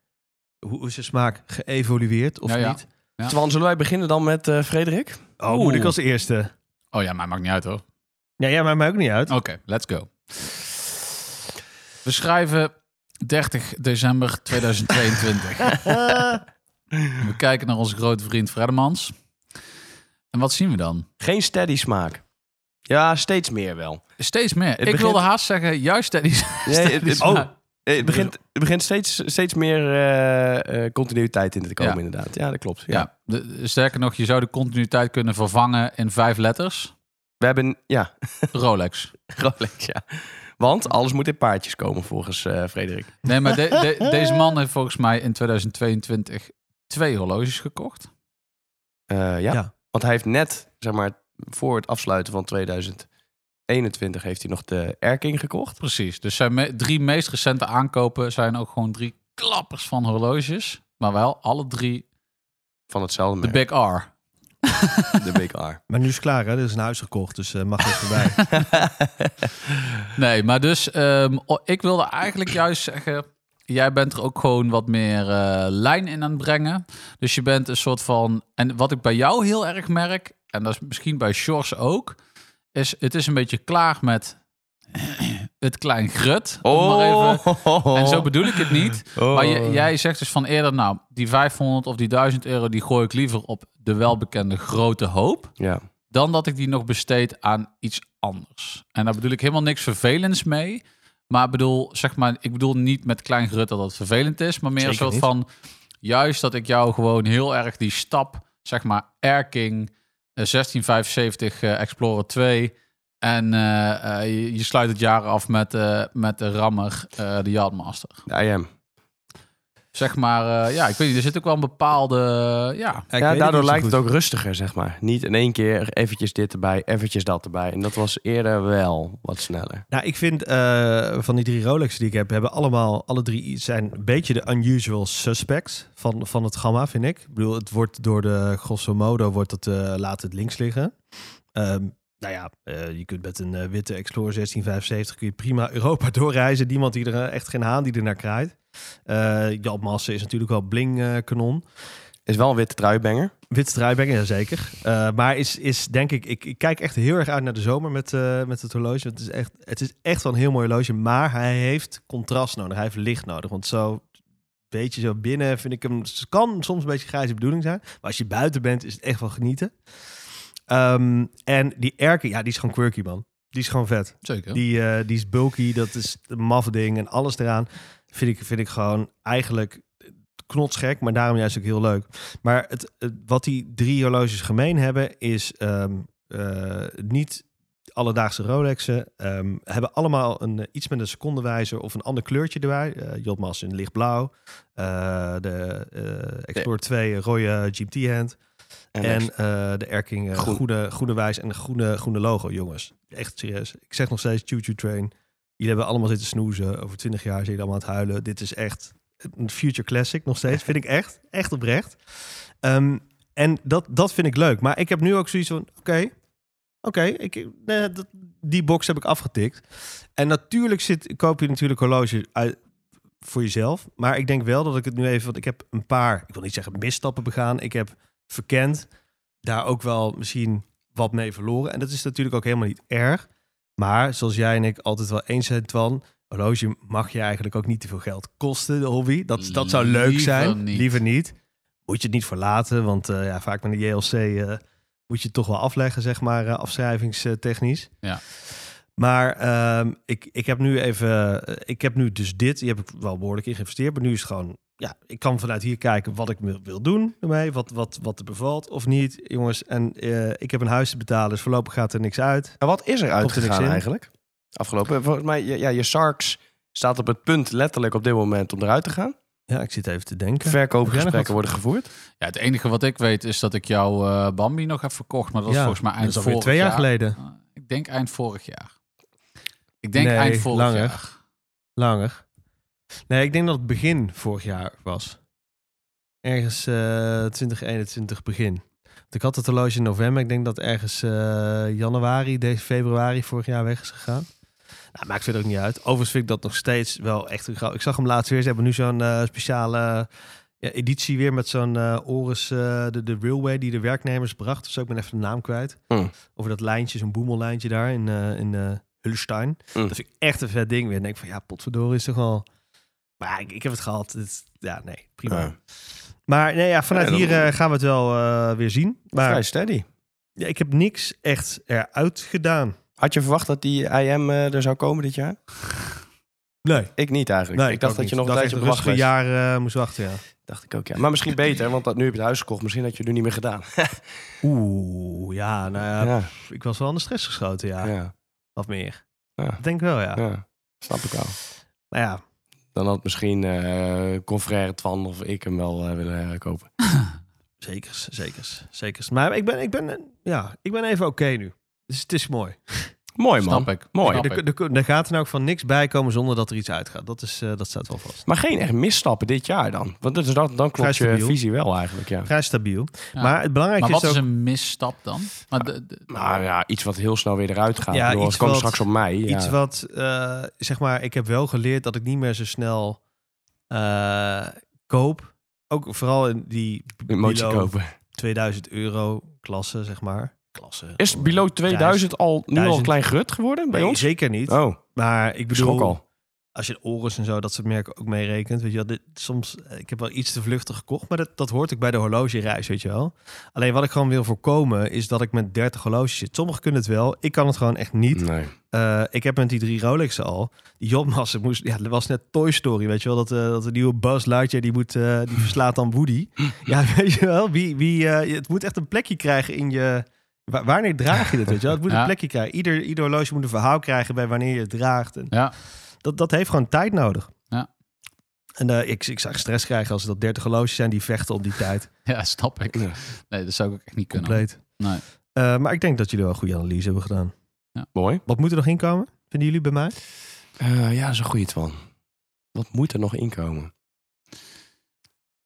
D: Hoe is de smaak geëvolueerd of
F: Nou
E: Ja, ja.
D: niet?
E: Ja.
F: Twan, zullen wij beginnen dan met eh, Frederik?
D: Oh, moet ik als eerste?
E: Oh ja, maar maakt niet uit hoor.
D: Ja, jij maakt mij ook niet uit.
E: Oké, let's go. We schrijven 30 december 2022.
D: [laughs]
E: we kijken naar onze grote vriend Freddemans. En wat zien we dan?
F: Geen steady smaak. Ja, steeds meer wel.
E: Steeds meer. ik
F: begint-
E: wilde haast zeggen, juist tijdens...
F: Nee, het, het-
E: smaak.
F: oh, eh, het begint, het begint steeds, steeds meer eh, eh, continuïteit in te komen,
E: Ja.
F: inderdaad. Ja, dat klopt.
E: [laughs]
F: Ja.
E: Ja, de- de- sterker nog, je zou de continuïteit kunnen vervangen in vijf letters.
F: We hebben, ja,
E: Rolex.
F: Rolex, ja. Want alles moet in paardjes komen, volgens eh, Frederik.
E: Nee, maar de- de- deze man heeft volgens mij in 2022 twee horloges gekocht.
F: Eh, ja.
D: Ja.
F: want hij heeft net, zeg maar, voor het afsluiten van 2021... heeft hij nog de Erking gekocht.
E: Precies. Dus zijn me- drie meest recente aankopen zijn ook gewoon drie klappers van horloges. Maar wel alle drie
F: Van hetzelfde
E: de
F: merk,
E: Big R.
F: de Big
D: [laughs]
F: R.
D: Maar nu is het klaar, hè? Er is een huis gekocht, dus eh, mag er
F: [laughs]
D: voorbij.
E: Nee, maar dus ehm, o- ik wilde eigenlijk juist zeggen... Jij bent er ook gewoon wat meer eh, lijn in aan het brengen. Dus je bent een soort van... En wat ik bij jou heel erg merk... En dat is misschien bij Sjors ook... Is het is een beetje klaar met... [clears throat] het klein grut. om maar even- En zo bedoel ik het niet.
F: Oh.
E: Maar j- jij zegt dus van eerder, nou, die 500 of die 1000 euro, die gooi ik liever op de welbekende grote hoop.
F: Ja.
E: Dan dat ik die nog besteed aan iets anders. En daar bedoel ik helemaal niks vervelends mee. Maar bedoel, zeg maar, ik bedoel niet met klein gerut dat het vervelend is. Maar meer
D: Zeker
E: een soort
D: niet.
E: van, juist dat ik jou gewoon heel erg die stap, zeg maar, Erking, eh, 1675 eh, Explorer 2. En eh, eh, je, je sluit het jaar af met, eh, met de rammer, eh, de Yardmaster.
F: De IM.
E: Zeg maar, eh, ja, ik weet niet, er zit ook wel een bepaalde, eh, ja.
D: Ik weet
F: ja,
D: niet
F: daardoor
D: zo
F: lijkt
D: goed.
F: het ook rustiger, zeg maar. Niet in één keer eventjes dit erbij, eventjes dat erbij. En dat was eerder wel wat sneller.
D: Nou, ik vind eh, van die drie Rolex die ik heb, hebben allemaal, alle drie iets- zijn een beetje de unusual suspects van, van het gamma, vind ik. Ik bedoel, het wordt door de grosso modo wordt het, eh, laat het links liggen. Ehm, nou ja, eh, je kunt met een eh, witte Explorer 1675 kun je prima Europa [laughs] doorreizen. Niemand die er eh, echt geen haan die er naar kraait. Eh Jan Massen is natuurlijk wel bling eh, kanon.
F: Is wel een witte truibanger.
D: Witte truibenger, ja zeker. Eh, maar is, is denk ik, ik, ik kijk echt heel erg uit naar de zomer met, eh, met het horloge. Het is, echt, het is echt wel een heel mooi horloge, maar hij heeft contrast nodig. Hij heeft licht nodig, want zo een beetje zo binnen vind ik hem... Het kan soms een beetje grijze bedoeling zijn, maar als je buiten bent is het echt wel genieten. Ehm, en die Erke, ja die is gewoon quirky man. Die is gewoon vet.
E: Zeker.
D: Die, eh, die is bulky, dat is een maf ding en alles eraan. Vind ik, vind ik gewoon eigenlijk knotsgek, maar daarom juist ook heel leuk. Maar het, het- wat die drie horloges gemeen hebben, is ehm, eh, niet alledaagse Rolexen. ehm, hebben allemaal een, eh, iets met een secondenwijzer of een ander kleurtje erbij. Eh Jotmas in lichtblauw. eh, de eh Explorer 2 rode GMT-hand.
F: En,
D: En
F: echt-
D: eh, de Erking eh,
F: Groen.
D: groene, groene wijs en een groene, groene logo, jongens. Echt serieus. Ik zeg nog steeds Choo Choo Train. Jullie hebben allemaal zitten snoezen. Over twintig jaar zijn jullie allemaal aan het huilen. Dit is echt een future classic nog steeds. Vind ik echt. Echt oprecht. Ehm, en dat, dat vind ik leuk. Maar ik heb nu ook zoiets van, oké. Oké, ik nee, dat- die box heb ik afgetikt. En natuurlijk zit, koop je natuurlijk horloges uit, voor jezelf. Maar ik denk wel dat ik het nu even... Want ik heb een paar, ik wil niet zeggen misstappen begaan. Ik heb verkend daar ook wel misschien wat mee verloren. En dat is natuurlijk ook helemaal niet erg. Maar zoals jij en ik altijd wel eens zijn, Twan... horloge mag je eigenlijk ook niet te veel geld kosten, de hobby. Dat, dat zou leuk
E: Liever
D: zijn.
E: niet.
D: Liever niet. Moet je het niet verlaten, want eh, ja, vaak met een JLC... eh, moet je het toch wel afleggen, zeg maar, eh, afschrijvingstechnisch.
E: Ja.
D: Maar ehm, ik, ik heb nu even, eh, ik heb nu dus dit, die heb ik wel behoorlijk in geïnvesteerd, maar nu is het gewoon, ja, ik kan vanuit hier kijken wat ik me- wil doen ermee, wat, wat, wat er bevalt of niet, jongens. En eh, ik heb een huis te betalen, dus voorlopig gaat er niks uit.
F: en wat is er
D: niks
F: uitgegaan
D: in?
F: eigenlijk? Afgelopen. Volgens mij, ja, ja, je Sarks staat op het punt letterlijk op dit moment om eruit te gaan.
D: Ja, ik zit even te denken. Heb jij nog
F: Verkoopgesprekken
D: wat?
F: worden gevoerd.
E: Ja, het enige wat ik weet is dat ik jouw eh, Bambi nog heb verkocht. Maar dat was
D: Ja,
E: volgens mij
D: dat
E: eind
D: is alweer
E: vorig
D: twee jaar
E: jaar.
D: geleden.
E: Eh, ik denk eind vorig jaar. Ik denk
D: Nee,
E: eind vorig
D: langer.
E: jaar.
D: Langer. Nee, ik denk dat het begin vorig jaar was. Ergens eh 2021 begin. Want ik had het horloge in november. Ik denk dat ergens eh, januari, deze februari vorig jaar weg is gegaan. Nou, maakt verder ook niet uit. Overigens vind ik dat nog steeds wel echt een grap. Ik zag hem laatst weer. Ze hebben nu zo'n eh, speciale ja, editie weer met zo'n eh Oris, eh, de, de Railway, die de werknemers bracht. Dus ik ben even de naam kwijt.
F: Hmm.
D: Over dat lijntje, zo'n boemellijntje daar in, eh in eh, Hulstein.
F: Mm.
D: Dat vind ik echt een vet ding weer. En denk ik van, ja, potverdorie is toch wel... Maar ja, ik, ik heb het gehad. Het, ja, nee, prima.
F: Ja.
D: Maar nee, ja, vanuit
F: Ja, dan-
D: hier eh, gaan we het wel eh, weer zien.
F: Vrij
D: Maar
F: steady.
D: ja, ik heb niks echt eruit gedaan.
F: Had je verwacht dat die IM eh, er zou komen dit jaar?
D: Nee.
F: Ik niet eigenlijk. ik dacht dat je nog een tijdje op wacht
D: rustige
F: was.
D: jaar eh, moest wachten, ja.
F: Dacht ik ook, ja. Maar misschien beter, want dat, nu heb je het huis gekocht. Misschien had je het nu niet meer gedaan.
D: Oeh, ja, nou ja,
F: ja.
D: pff, ik was wel aan de stress geschoten, ja.
F: Ja.
D: Wat meer.
F: Ja.
D: Ik denk wel, ja.
F: ja, snap ik wel.
D: Maar ja,
F: Dan had misschien eh confrère Twan of ik hem wel eh, willen herkopen.
D: zekers, zekers, zekers. Maar ik ben, ik ben, eh, ja, ik ben even oké nu. Dus het is mooi.
F: Mooi man.
E: Snap ik.
F: Mooi.
E: Snap
D: Er,
E: ik.
D: er, er gaat er nou ook van niks bij komen zonder dat er iets uitgaat. Dat, is, eh, dat staat wel vast.
F: Maar geen echt misstappen dit jaar dan. Want dus dat, dan klopt je
D: stabiel.
F: visie wel eigenlijk, ja.
D: Vrij stabiel.
E: Ja.
D: Maar het
E: Maar
D: belangrijkste
E: wat
D: is
E: is
D: ook...
E: een misstap dan? Maar de- de-
F: Maar Nou eh, ja, iets wat heel snel weer eruit gaat.
D: Ja,
F: Ja,
D: iets
F: het komt
D: wat-
F: straks op mij. Ja.
D: iets wat, eh, zeg maar, ik heb wel geleerd dat ik niet meer zo snel eh, koop. Ook vooral in die b-
F: Emotie
D: below
F: kopen.
D: 2000 euro klasse, zeg maar. Klasse.
F: Is below 2000 al, nu al een
D: Duizend.
F: klein grut geworden bij
D: Nee,
F: ons?
D: Zeker niet.
F: Oh,
D: Maar ik
F: ik schrok
D: bedoel,
F: al.
D: als je Oris en zo, dat soort merken ook mee rekent. Weet je wel, dit, soms, eh, ik heb wel iets te vluchtig gekocht, maar dat, dat hoort ook bij de horlogereis, weet je wel. Alleen wat ik gewoon wil voorkomen, is dat ik met 30 horloges zit. Sommigen kunnen het wel, ik kan het gewoon echt niet.
F: Nee.
D: Eh, ik heb met die drie Rolexen al. Die Jobmassen moest. Ja, er was net Toy Story. Weet je wel dat, eh dat de nieuwe Buzz Lightyear die moet. eh, die verslaat dan Woody. Ja, [laughs] weet je wel. Wie, wie, eh, het moet echt een plekje krijgen in je. wa- wanneer draag je dit? Weet je wel? Het moet
E: Ja.
D: een plekje krijgen. Ieder, ieder horloge moet een verhaal krijgen bij wanneer je het draagt. En
E: ja, [laughs]
D: dat, dat heeft gewoon tijd nodig.
E: Ja.
D: En eh, ik, ik zag stress krijgen als er dat 30 horloges zijn die vechten om die tijd.
E: ja, snap ik.
F: Ja.
E: Nee, dat zou ik ook echt niet kunnen.
D: Compleet.
E: Nee.
D: Eh, maar ik denk dat jullie wel een goede analyse hebben gedaan.
F: Mooi.
D: Wat moet er nog inkomen? Vinden jullie bij mij?
F: Eh, ja, dat is een goeie Twan. Wat moet er nog inkomen?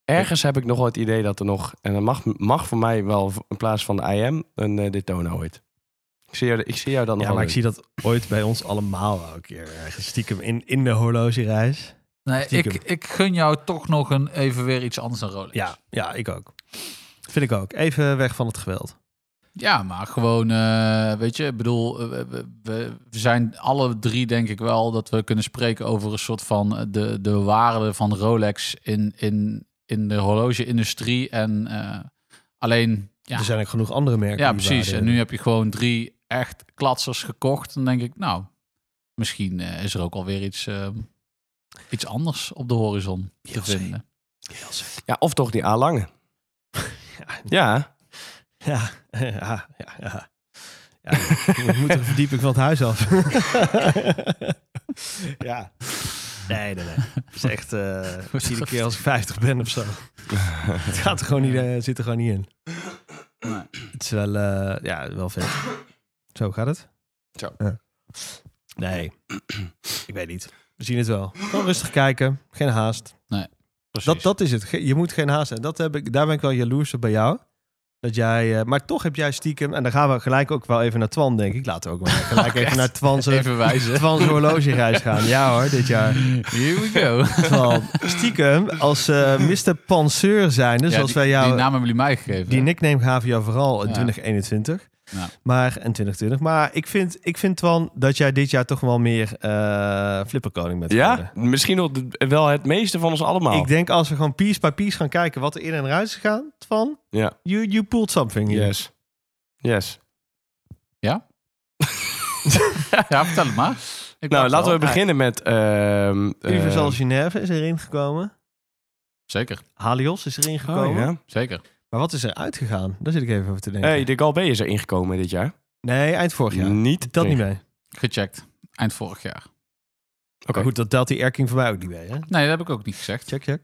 F: Ergens heb ik nog wel het idee dat er nog... En dat mag, mag voor mij wel in plaats van de IM een eh Daytona ooit. Ik zie jou, ik zie jou dan nog
D: Ja,
F: wel
D: maar ik
F: doen.
D: zie dat ooit bij ons allemaal wel een keer ergens stiekem in, in de horlogereis.
E: Nee, ik,
D: Stiekem.
E: ik gun jou toch nog een, even weer iets anders dan Rolex.
D: Ja, ja, ik ook. Vind ik ook. Even weg van het geweld.
E: Ja, maar gewoon, eh, weet je, ik bedoel, eh, we- we, we- we zijn alle drie denk ik wel dat we kunnen spreken over een soort van eh, de, de waarde van Rolex in, in, in de horlogeindustrie. En eh, alleen, ja,
D: Er zijn ook genoeg andere merken.
E: ja
D: die
E: precies.
D: waarde
E: En nu heb je gewoon drie echt klatsers gekocht. Dan denk ik, nou, misschien eh, is er ook alweer iets, eh, iets anders op de horizon te
D: JLC.
E: vinden.
F: Ja, of toch die
D: [laughs]
F: aanlangen. ja,
D: Ja, [laughs] ja, ja. ja. ja we moeten een verdieping van het huis af. ja. Nee, nee, nee. Het is echt eh iedere keer als ik 50 ben of zo. het gaat er gewoon niet, eh, zit er gewoon niet in.
E: Nee.
D: Het is wel, eh, ja, wel vet. Zo gaat het.
F: Zo.
D: Ja. Nee, ik weet niet. We zien het wel. Gewoon rustig kijken. Geen haast.
E: Precies.
D: Dat, dat is het. Ge- Je moet geen haast hebben. Dat heb ik, daar ben ik wel jaloers op bij jou. Dat jij, eh, maar toch heb jij stiekem, en dan gaan we gelijk ook wel even naar Twan, denk ik. Laten
E: [laughs]
D: we ook maar gelijk even naar Twan's, eh,
E: Even wijzen.
D: Twan's horlogereis gaan. Ja hoor, dit
E: [laughs]
D: jaar.
E: Here we
D: [laughs]
E: go.
D: Twan, stiekem, als eh Mr. Panseur zijn, dus
E: Ja,
D: als
E: die,
D: wij jou...
E: die naam hebben jullie mij gegeven.
D: Die nickname gaven jou vooral in
E: Ja.
D: 2021.
E: Ja.
D: Maar, en 2020. Maar ik vind, ik vind, Twan, dat jij dit jaar toch wel meer eh, flipperkoning bent geworden.
F: ja misschien wel de- wel het meeste van ons allemaal.
D: eh. Ik denk als we gewoon piece by piece gaan kijken wat er in en eruit is gegaan, Twan,
F: Ja.
D: you, you pulled something here.
F: yes. Yes.
E: [laughs] Ja, vertel het maar. Ik
F: Nou,
E: wacht
F: laten
E: wel.
F: we beginnen met... ehm
D: Universal
F: ehm,
D: Genève is erin gekomen.
E: Zeker,
D: Halios is erin gekomen.
F: oh, ja.
E: zeker.
D: Maar wat is er uitgegaan? Daar zit ik even over te denken.
F: Hey, Mm, de Galbé is er ingekomen dit jaar.
D: Nee, eind vorig jaar.
F: Niet.
D: Dat niet mee.
E: Gecheckt. Eind vorig jaar.
F: Oké.
D: Maar goed, dat telt die erking voor mij ook niet mee. Hè?
E: Nee, dat heb ik ook niet gezegd.
D: Check, check.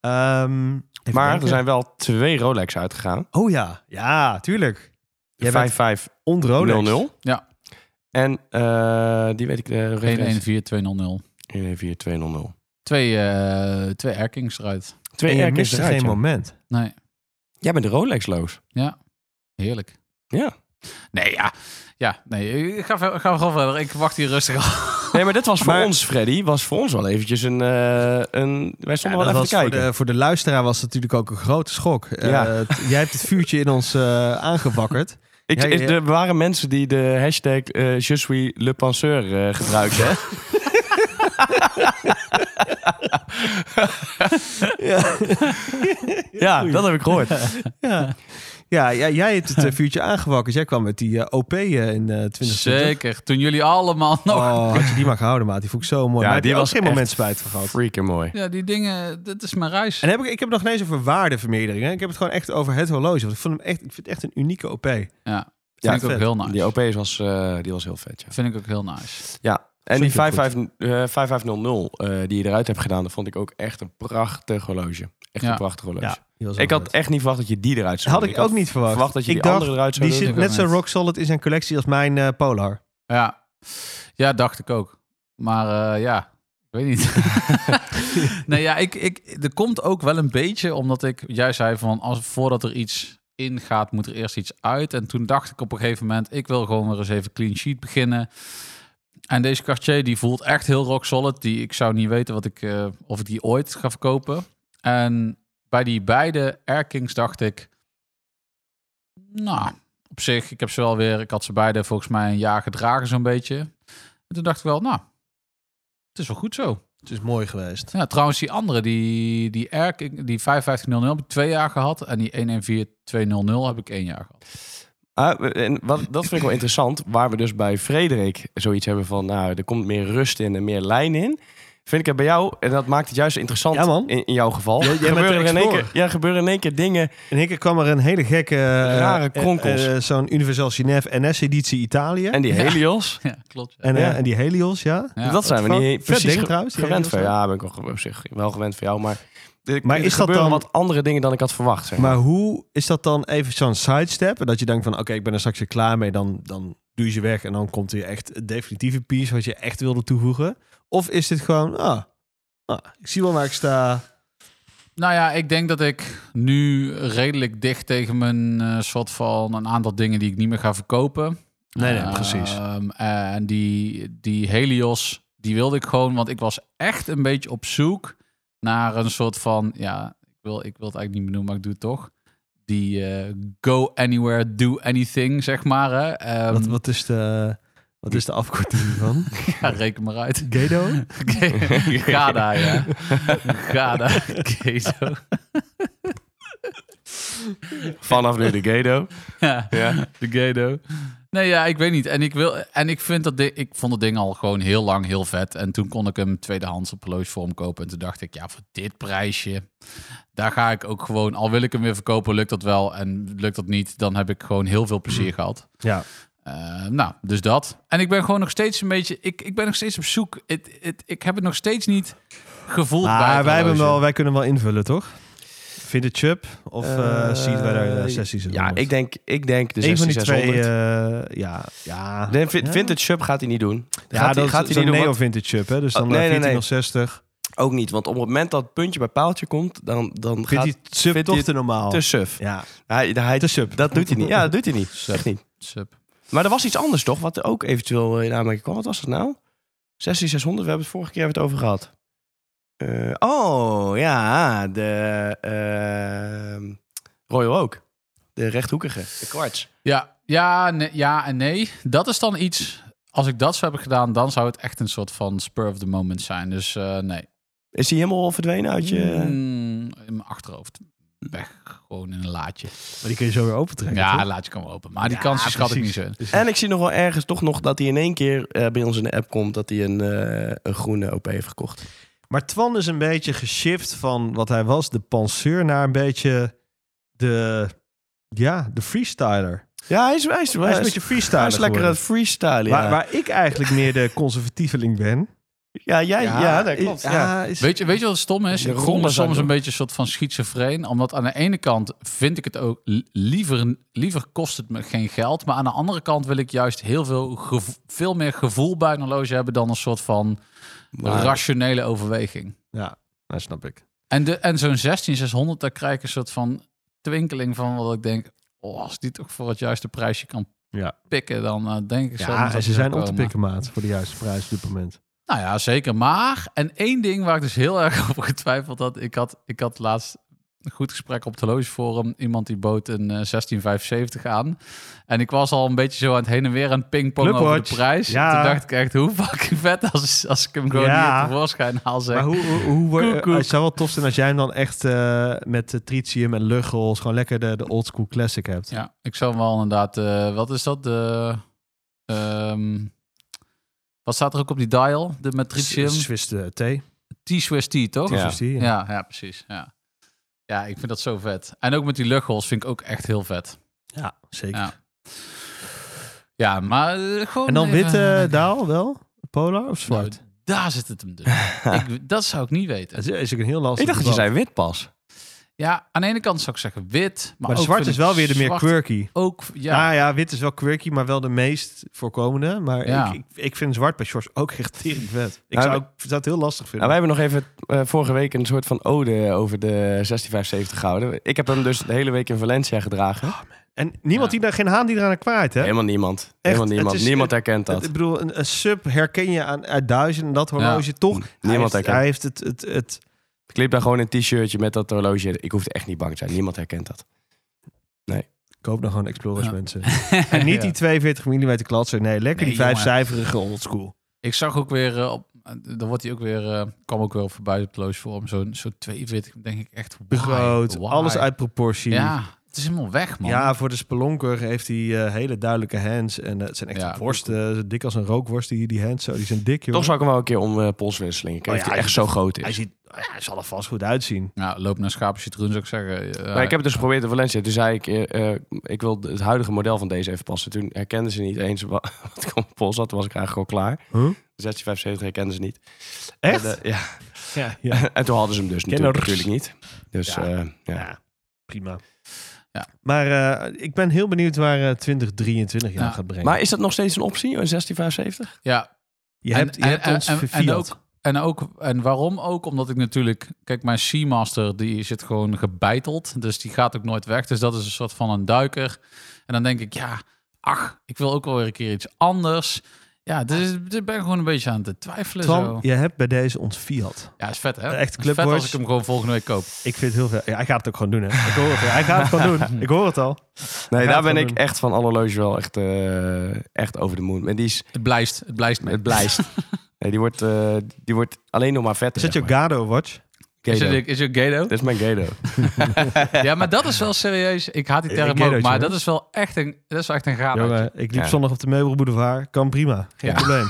D: Ehm, even
F: Maar er
D: denken.
F: zijn wel twee Rolex uitgegaan.
D: Oh ja, ja, tuurlijk.
F: De
D: Jij bent
F: 5500.
D: ontrolijk.
E: Ja.
F: En eh, die weet ik de referentie.
E: 114200.
F: 1-1-4-2-0-0.
E: Twee, eh, twee erkings eruit.
D: En
F: Twee
D: je
F: erkens
D: mist er
F: eruit.
D: geen
F: ja.
D: moment.
E: Nee,
F: Jij bent de Rolex-loos.
E: heerlijk.
F: Ja.
E: Nee, ja. Ja, nee. ik Ga, ver- ga gewoon verder. Ik wacht hier rustig af.
F: Nee, maar dit was voor
D: Maar-
F: ons, Freddy, was voor ons wel eventjes een... eh, een wij
D: Ja,
F: stonden
D: dat
F: wel even
D: was
F: te
D: voor,
F: kijken.
D: de, voor de luisteraar was het natuurlijk ook een grote schok. Eh,
F: Ja.
D: t- jij hebt het vuurtje in ons eh aangewakkerd.
F: Ik,
D: Ja, ja, ja.
F: Er waren mensen die de hashtag eh Je suis le penseur eh, gebruikten. hè?
D: Ja,
F: ja, dat heb ik gehoord.
D: ja. ja, ja, jij hebt
F: [laughs]
D: het eh, vuurtje aangewakkerd. Jij kwam met die eh, OP eh, in eh 2020.
E: Zeker. Toen jullie allemaal nog...
F: [laughs]
D: Oh, had je die maar gehouden, maat. Die vond ik zo mooi.
F: Ja,
D: maar heb
F: die
D: je ook
F: was
D: geen moment
F: echt
D: spijt van gehad.
F: Freaking mooi.
E: Ja, die dingen. Dit is mijn reis.
D: En heb ik, ik heb het nog niet eens over waardevermeerdering. Hè? Ik heb het gewoon echt over het horloge. Want ik, vond hem echt, ik vind het echt een unieke OP.
E: Ja.
D: Ja,
E: Vind ik ook
D: vet.
E: heel nice.
F: Die OP was, eh, die was heel vet, ja.
E: Vind ik ook heel nice.
F: ja. En die
D: Vind ik ook
F: 55, eh, 5500 eh, die je eruit hebt gedaan, dat vond ik ook echt een prachtig horloge. Echt
E: Ja.
F: een prachtig horloge.
D: Ja, die was wel
F: Ik had
D: vet.
F: echt niet verwacht dat je die eruit zou
D: had
F: doen.
D: ik ook niet verwacht.
F: verwacht dat je
D: ik
F: die
D: dacht,
F: andere eruit zou
D: die
F: doen.
D: zit
E: Ik
D: net
E: ook
D: zo
E: niet.
D: rock solid in zijn collectie als mijn eh, Polar.
E: Ja. Ja, dacht ik ook. Maar eh, ja, ik weet niet. nee, ja, ik, ik, er komt ook wel een beetje omdat ik juist zei van als, voordat er iets ingaat, moet er eerst iets uit. En toen dacht ik op een gegeven moment, ik wil gewoon weer eens even clean sheet beginnen. En deze Cartier, die voelt echt heel rock solid. Die, ik zou niet weten wat ik, eh, of ik die ooit ga verkopen. En bij die beide Erkings dacht ik, nou, op zich, ik heb ze wel weer, ik had ze beide volgens mij een jaar gedragen zo'n beetje. En toen dacht ik wel, nou, het is wel goed zo.
D: Het is mooi geweest.
E: Ja, trouwens, die andere, die, die Erk, die 5500 heb ik twee jaar gehad. En die 114200 heb ik één jaar gehad. [laughs]
F: Ah, en wat, dat vind ik wel interessant, waar we dus bij Frederik zoiets hebben van, nou, er komt meer rust in en meer lijn in. Vind ik het bij jou, en dat maakt het juist interessant
D: Ja, man.
F: In, in jouw geval.
D: Jij- jij bent de
F: in één keer,
D: explorer.
F: ja, gebeuren in één keer dingen.
D: In één keer kwam er een hele gekke... eh,
F: Rare kronkels.
D: eh, eh, Zo'n Universal Genève NS-editie Italië.
F: En die
E: Ja.
F: Helios,
E: Ja, klopt. Ja.
D: En, eh,
F: Ja.
D: en die Helios, ja.
E: Ja.
F: eh, dat zijn we
D: fuck?
F: niet
D: Vet
F: precies
D: ding
F: ge-
D: trouwens, die
F: gewend
D: Helios
F: van.
D: dan.
F: Ja, ben ik wel op zich wel gewend van jou, maar... er-
D: Maar
F: er
D: is dat
F: gebeuren
D: dan-
F: wat andere dingen dan ik had verwacht, zeg maar.
D: Maar hoe is dat dan even zo'n sidestep? Dat je denkt van, oké, ik ben er straks weer klaar mee. Dan, dan duw je ze weg en dan komt hier echt het definitieve piece wat je echt wilde toevoegen. Of is dit gewoon, ah, ah, ik zie wel waar ik sta.
E: Nou ja, ik denk dat ik nu redelijk dicht tegen mijn eh, soort van een aantal dingen die ik niet meer ga verkopen.
D: Nee, nee, precies.
E: Ehm, en die, die Helios, die wilde ik gewoon, want ik was echt een beetje op zoek naar een soort van, ja, ik wil, ik wil het eigenlijk niet benoemen, maar ik doe het toch. Die eh, go anywhere, do anything, zeg maar. Hè. Ehm,
D: wat, wat, is de, wat is de afkorting
F: [laughs]
D: van?
E: [laughs] ja, reken maar uit.
D: Gedo?
E: [laughs] Ga daar,
D: [laughs]
E: ja. Ga daar, [laughs] Kezo.
F: [laughs] Vanaf nu de
D: [laughs]
F: Gedo.
E: Ja.
F: Ja.
E: De Gado. Nee, ja, ik weet niet. En ik, wil, en ik, vind dat di- ik vond het ding al gewoon heel lang heel vet. En toen kon ik hem tweedehands op horlogevorm kopen. En toen dacht ik, ja, voor dit prijsje, daar ga ik ook gewoon... Al wil ik hem weer verkopen, lukt dat wel. En lukt dat niet, dan heb ik gewoon heel veel
D: Hmm.
E: plezier gehad.
D: Ja,
E: Eh, nou, dus dat. En ik ben gewoon nog steeds een beetje... Ik, ik ben nog steeds op zoek. Het- het- ik heb het nog steeds niet gevoeld bij
D: maar
E: het
D: wij, hebben hem
E: horloge.
D: wel, wij kunnen hem wel invullen, toch? Vindt het Chubb of eh
F: Eh,
D: zien wij daar eh, sessies in?
F: Ja, ik denk, ik denk de
D: Eén van die twee,
F: 16600.
D: eh, ja. Ja,
F: Nee, vind,
D: Ja.
F: Vintage Sub gaat hij niet doen.
D: ja
F: gaat hij-
D: dat
F: gaat
D: gaat
F: hij
D: zo'n
F: niet doen,
D: Neo
F: want-
D: Vintage Chubb, hè? Dus dan
F: Oh,
D: eh,
F: nee, nee, nee.
D: 1460.
F: Ook niet, want op het moment dat het puntje bij paaltje komt, dan, dan
D: Vindt
F: gaat
D: die Chubb
F: vindt
D: toch
F: hij
D: te normaal?
F: te suf.
D: Ja,
F: Hij, hij,
D: te sub.
F: dat doet hij niet. Ja, dat doet hij niet.
E: Sub.
F: Echt niet.
E: Sup.
F: Maar er was iets anders toch, wat ook eventueel eh, in aanmerking kwam. Wat was dat nou? 16600, we hebben het vorige keer hebben we het over gehad. Eh, oh, ja, de ehm, Royal Oak. De rechthoekige, de kwarts.
E: Ja, ja, nee- ja en nee. Dat is dan iets. Als ik dat zou hebben gedaan, dan zou het echt een soort van spur of the moment zijn. Dus eh, nee.
F: Is die helemaal verdwenen uit je...
D: Hmm.
E: Mm, in mijn achterhoofd. Weg. Gewoon in een laadje.
D: maar die kun je zo weer opentrekken,
E: Ja,
D: toch?
E: een laadje kan wel open. Maar die
D: Ja,
E: kans die schat ik niet
D: precies. Dus-
E: zo. in.
F: En ik zie nog wel ergens toch nog dat hij in één keer eh, bij ons in de app komt dat hij een, eh, een groene OP heeft gekocht.
D: Maar Twan is een beetje geshift van wat hij was, de penseur, naar een beetje de, ja, de freestyler.
F: Ja, hij is, hij is,
D: Hij is een beetje freestyler
F: hij is lekker aan
D: geworden.
F: het freestylen. Ja.
D: Waar, waar ik eigenlijk meer de conservatieveling ben.
F: ja, jij, ja,
E: Ja,
F: dat klopt.
D: Ja,
F: Ja.
D: is-
E: Weet je, weet je wat het stom is?
F: De
E: Ik voel
F: rollen
E: me
F: zijn
E: soms
F: door.
E: een beetje een soort van schizofreen. Omdat aan de ene kant vind ik het ook li- liever, liever kost het me geen geld. Maar aan de andere kant wil ik juist heel veel, gevo- veel meer gevoel bij een horloge hebben dan een soort van
F: Maar-
E: rationele overweging.
D: ja, dat snap ik.
E: En, de, en zo'n 16600, daar krijg ik een soort van twinkeling van wat ik denk. Oh, als die toch voor het juiste prijsje kan
D: Ja.
E: pikken, dan eh, denk ik zo.
D: Ja,
E: dat
D: en
E: die
D: ze
E: zou
D: zijn op te
E: komen.
D: pikken, maat, voor de juiste prijs op dit moment.
E: Nou ja, zeker. Maar, en één ding waar ik dus heel [laughs] erg over getwijfeld had. Ik had, ik had laatst een goed gesprek op het horlogeforum. Iemand die bood een eh, 1675 aan. En ik was al een beetje zo aan het heen en weer aan het pingpong over
D: Clubwatch.
E: de prijs.
D: Ja.
E: Toen dacht ik echt, hoe fucking vet als, als ik hem gewoon
D: Ja.
E: hier tevoorschijn haal. Zeg.
D: Maar hoe, hoe, hoe wor-
E: Koek, koek.
D: het zou wel tof zijn als jij hem dan echt eh, met eh, tritium en luggels gewoon lekker de, de old school classic hebt.
E: Ja, ik zou hem wel inderdaad. eh, wat is dat? De. ehm, wat staat er ook op die dial? De met tritium?
D: S- Swiss eh, thee.
E: T-Swiss T, toch?
F: Ja.
D: Swiss tea,
E: Ja, ja, precies. Ja. ja, ik vind dat zo vet. En ook met die luchthols vind ik ook echt heel vet.
D: Ja, zeker.
E: Ja, ja maar eh, gewoon.
D: En dan
E: even-
D: witte daal wel? Polar of
E: Nou,
D: zwart?
E: daar zit het hem
D: [laughs]
E: dus. ik, dat zou ik niet weten.
D: Dat is- is ook een heel lastig
F: Ik dacht dat je
D: debat.
F: zei wit pas.
E: Ja, aan de ene kant zou ik zeggen wit. Maar,
D: Maar
E: ook
D: zwart
E: vind
D: is
E: ik
D: wel weer de meer
E: zwart
D: quirky.
E: Ook,
D: Ja.
E: ja.
D: Ah ja, wit is wel quirky, maar wel de meest voorkomende. Maar
E: Ja.
D: ik, ik, ik vind zwart bij shorts ook echt tering vet. Ik
F: Nou,
D: zou,
F: we-
D: ook- zou het heel lastig vinden.
F: Nou, wij hebben nog even eh, vorige week een soort van ode over de 16570 gehouden. Ik heb hem dus de hele week in Valencia gedragen.
D: En niemand
E: Ja.
D: die daar geen haan die eraan aan kwaait, hè?
F: Helemaal niemand. helemaal
D: het
F: niemand.
D: is-
F: niemand herkent dat.
D: Ik bedoel, een, een sub herken je aan, uit duizenden dat horloge toch. hij heeft,
F: Niemand herkent.
D: hij heeft het, het, het...
F: Ik liep daar gewoon in een t-shirtje met dat horloge. Ik hoefde echt niet bang te zijn. Niemand herkent dat.
D: Koop dan gewoon Explorers,
E: Ja.
D: mensen. En niet die 42 mm klatser. Nee, lekker
E: Nee,
D: die
E: jongen.
D: vijfcijferige oldschool.
E: Ik zag ook weer, eh, op, eh, dan wordt hij ook weer, eh, kwam ook weer op voorbij op Loos Forum. Zo'n zo 42, denk ik echt. why?
D: Groot,
E: Why?
D: alles uit proportie.
E: Ja, het is helemaal weg, man.
D: Ja, voor de spelonker heeft hij eh, hele duidelijke hands. En eh, het zijn echt
E: Ja.
D: worsten, zo dik als een rookworst, die, die hands. Zo, die zijn dik, joh.
F: Toch zou ik hem wel een keer om eh, pols wisselen.
D: Oh
F: Ik
D: ja,
F: hij
D: hij
F: echt
D: ziet-
F: zo groot is.
D: Hij ziet, ja, hij zal er vast goed uitzien.
E: Nou, loop naar schapen citroen, zou ik zeggen. Eh,
F: Maar ik heb het dus geprobeerd in Valencia. Toen zei ik, eh, eh, ik wil het huidige model van deze even passen. Toen herkenden ze niet eens wa- [laughs] wat ik op mijn pols had. Toen was ik eigenlijk al klaar.
D: Huh?
F: 1675 herkenden ze niet.
D: Echt?
F: En, eh, ja. [laughs]
D: Ja, ja.
F: en toen hadden ze hem dus natuurlijk,
D: Kenners.
F: natuurlijk niet. Dus
D: Ja.
F: ja. ja.
D: Ja, prima.
E: Ja.
D: Maar eh, ik ben heel benieuwd waar eh, 2023 je aan
E: Ja.
D: gaat brengen.
F: Maar is dat nog steeds een optie, een 1675?
E: ja,
D: je
E: en-
D: hebt, je
E: en-
D: hebt
E: en-
D: ons
E: en- en
D: verfiat.
E: ook- en ook, en waarom ook? Omdat ik natuurlijk, kijk, mijn Seamaster, die zit gewoon gebeiteld. Dus die gaat ook nooit weg. Dus dat is een soort van een duiker. En dan denk ik, ja, ach, ik wil ook wel weer een keer iets anders. Ja, dus ik ben gewoon een beetje aan het twijfelen.
D: Twan,
E: zo.
D: je hebt bij deze ons Fiat.
E: Ja, is vet hè?
D: Echt
E: Is vet
D: Clubwatch.
E: als ik hem gewoon volgende week koop.
D: Ik vind het heel veel. Ja, hij gaat het ook gewoon doen, hè? Ik hoor het. Hij gaat het gewoon doen. Ik hoor het al.
F: Nee,
D: Gaat
F: daar ben
D: wel
F: ik
D: doen.
F: echt van alle loge wel echt, eh, echt over de moon. En die is,
E: Het blijft, het blijft mee.
F: het
D: [laughs]
F: blijft. nee, die wordt, eh, die wordt alleen nog maar vetter.
D: Is dat
F: zeg
D: je Gado Watch?
F: maar.
E: Is
F: Gado.
E: het, is het Gado?
F: Dit is mijn
D: [laughs]
F: Gado.
E: [laughs] Ja, maar dat is wel serieus. Ik haat die
D: Eh,
E: term
D: Gadootje,
E: ook, maar
D: hè?
E: dat is wel echt een, dat is wel echt een
D: Jongen,
E: gaaf.
D: ik liep
F: Ja.
D: zondag op de Meubelboulevard. Kan prima. Geen
E: Ja.
D: probleem.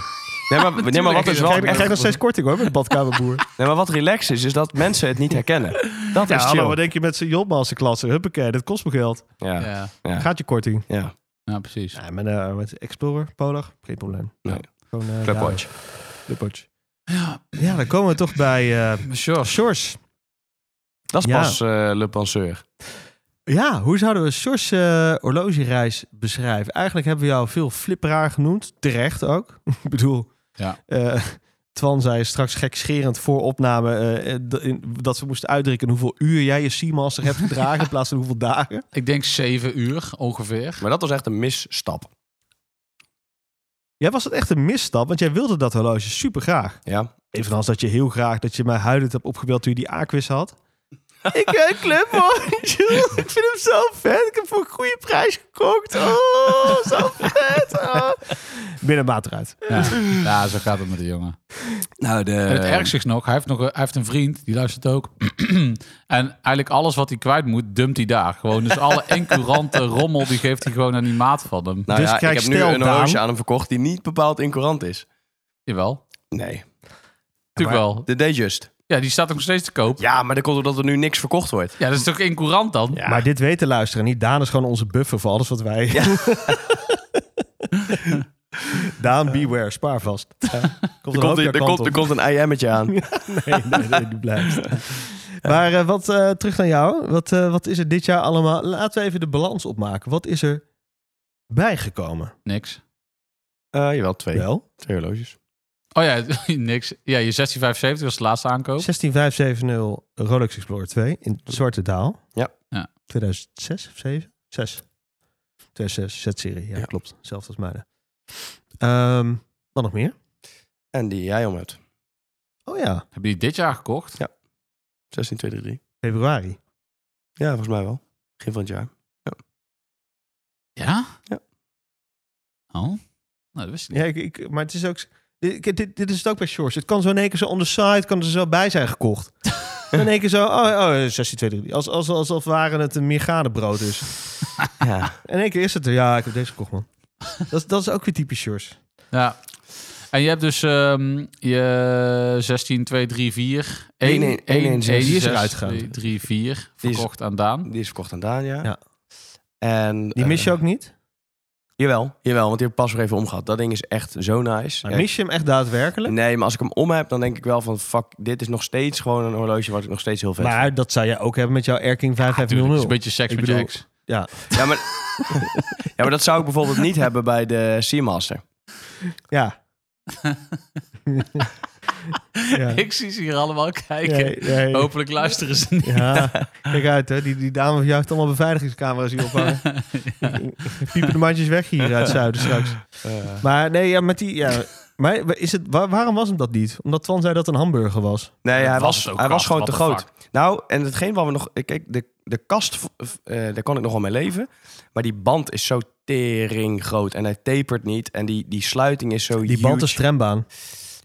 F: Nee, maar, nee, maar wat is wel
D: Krijg, ik krijg nog steeds korting hoor, met de [laughs] badkamerboer.
F: Nee, maar wat relax is, is dat mensen het niet
D: [laughs]
F: herkennen. Dat
D: ja,
F: is
D: hallo, wat
F: chill.
D: denk je met z'n jobmasterklasse? Huppakee, dat kost me geld.
F: Ja, ja.
E: Ja,
D: Gaat je korting.
F: ja.
E: ja, precies.
D: Ja, met, eh, met Explorer, Polar, geen probleem.
F: Nee.
D: Gewoon, eh,
F: Clubwatch.
D: ja, Clubwatch. Ja, dan komen we toch bij eh
E: Sure.
D: Sjors.
F: Dat is
D: Ja.
F: pas eh Le Penseur.
D: Ja, hoe zouden we Sjors eh, horlogereis beschrijven? Eigenlijk hebben we jou veel flipperaar genoemd. Terecht ook. [laughs] Ik bedoel,
E: Ja.
D: eh, Twan zei straks gekscherend voor opname... eh, eh, dat- in- dat we moesten uitdrukken hoeveel uur jij je Seamaster hebt gedragen... in plaats van hoeveel dagen.
E: Ik denk zeven uur ongeveer.
F: Maar dat was echt een misstap.
D: Jij was het echt een misstap, want jij wilde dat horloge super graag.
F: Ja.
D: Evenals dat je heel graag dat je mij huilend hebt opgebeld toen je die Aquis had. [laughs] ik heb club hoor. [laughs] Jules, Ik vind hem zo vet. Ik heb voor een goede prijs gekocht. Oh, zo vet. Oh. Binnen maat eruit.
E: Ja. ja, zo gaat het met de jongen.
F: Nou, de...
E: En het ergste is nog, hij heeft, nog een, hij heeft een vriend, die luistert ook. [clears throat] en eigenlijk alles wat hij kwijt moet, dumpt hij daar. Gewoon, dus alle incurante rommel, die geeft hij gewoon aan die maat van hem.
F: Nou
D: Dus
F: ja,
D: kijk,
F: ik heb nu
D: stel,
F: een horloge
D: Daan-
F: aan hem verkocht die niet bepaald incourant is.
E: Jawel,
F: Nee.
E: natuurlijk wel.
F: De Dayjust.
E: Ja, die staat ook nog steeds te koop.
F: Ja, maar dat komt omdat er nu niks verkocht wordt.
E: Ja, dat is toch incurant dan? Ja,
D: Maar dit weten luisteren niet. Daan is gewoon onze buffer voor alles wat wij... [laughs] Daan, beware. Spaar vast. Komt
F: Er
D: een
F: komt,
D: hoop jouw
F: er,
D: kant
F: komt,
D: op.
F: er komt een IM'tje aan.
D: [laughs] Nee, nee, nee, die
F: [laughs]
D: blijft. Maar eh, wat, eh, terug naar jou. Wat, eh, wat is er dit jaar allemaal? Laten we even de balans opmaken. Wat is er bijgekomen?
E: niks.
F: Eh jawel, twee.
D: Wel?
F: Twee horloges.
E: Oh ja, [laughs] niks. Ja, je 1675 was de laatste aankoop.
D: 16570 Rolex Explorer 2 in Zwarte Daal.
F: Ja.
E: Ja.
D: 2006 of 7? 6. 2006, Z-serie. Ja,
F: Ja.
D: klopt. Zelfs als mijne. Ehm wat nog meer?
F: En die jij om hebt.
D: Oh ja,
E: Heb je die dit jaar gekocht?
F: 16, 2, 3, 3.
D: februari.
F: Ja, volgens mij wel. Begin van het jaar.
E: Ja?
F: Ja.
E: Oh? Nou, dat wist ik niet.
D: Ja, ik, ik, maar het is ook... Dit, dit, dit is het ook bij Shores. Het kan zo in één keer zo on the side, kan er zo bij zijn
E: [laughs]
D: gekocht. En in één keer zo, oh, oh 16, 2, 3. Als, als, alsof waren het een meergadenbrood is.
F: Ja.
D: En in één keer is het er. Ja, ik heb deze gekocht,
E: [laughs]
D: man. Dat, is- dat is ook weer typisch Shores.
E: Ja. En je hebt dus ehm, je 16, 2, 3, 4. 1, 1, 1, 1, 6,
D: Die is
E: 6,
D: eruit gegaan.
E: 2, 3, 4.
F: Die is-
E: Verkocht aan Daan.
F: Die is verkocht aan Daan, ja.
D: Ja.
F: En,
D: Die mis je
F: eh,
D: ook niet?
F: Jawel, jawel, want die heb ik pas weer even omgehad. Dat ding is echt zo nice.
D: Maar
F: Ja,
D: mis je hem echt daadwerkelijk?
F: Nee, maar als ik hem om heb, dan denk ik wel van... fuck, dit is nog steeds gewoon een horloge wat ik nog steeds heel vet
D: Maar dat zou jij ook hebben met jouw Air King
E: Tuurlijk, het is
D: 5500.
E: een beetje seks
D: Ik
E: met je
D: bedoel-
E: ex.
D: ja.
F: vind. Ja maar,
D: [laughs]
F: ja, maar dat zou ik bijvoorbeeld niet hebben bij de Seamaster.
D: Ja. [laughs]
E: [laughs]
D: ja.
E: Ik zie ze hier allemaal kijken.
D: Nee, nee.
E: Hopelijk luisteren ze niet.
D: Ja, kijk uit hè. Die, die dame van jou heeft allemaal beveiligingscamera's hier ophangen. Piepen de mandjes weg hier uit Zuiden straks. Maar nee, ja, met die... Ja, maar is het, wa- waarom was hem dat niet? Omdat Twan zei dat het een hamburger was.
F: Nee, hij
E: was
F: was,
E: het ook
F: hij
E: kast,
F: was gewoon
E: what
F: te
E: the
F: groot. Nou, en hetgeen waar we nog... Kijk, de, de kast, eh, daar kan ik nog wel mee leven. Maar die band is zo tering groot. En hij tapert niet. En die, die sluiting is zo
D: Die band
F: huge.
D: is trambaan.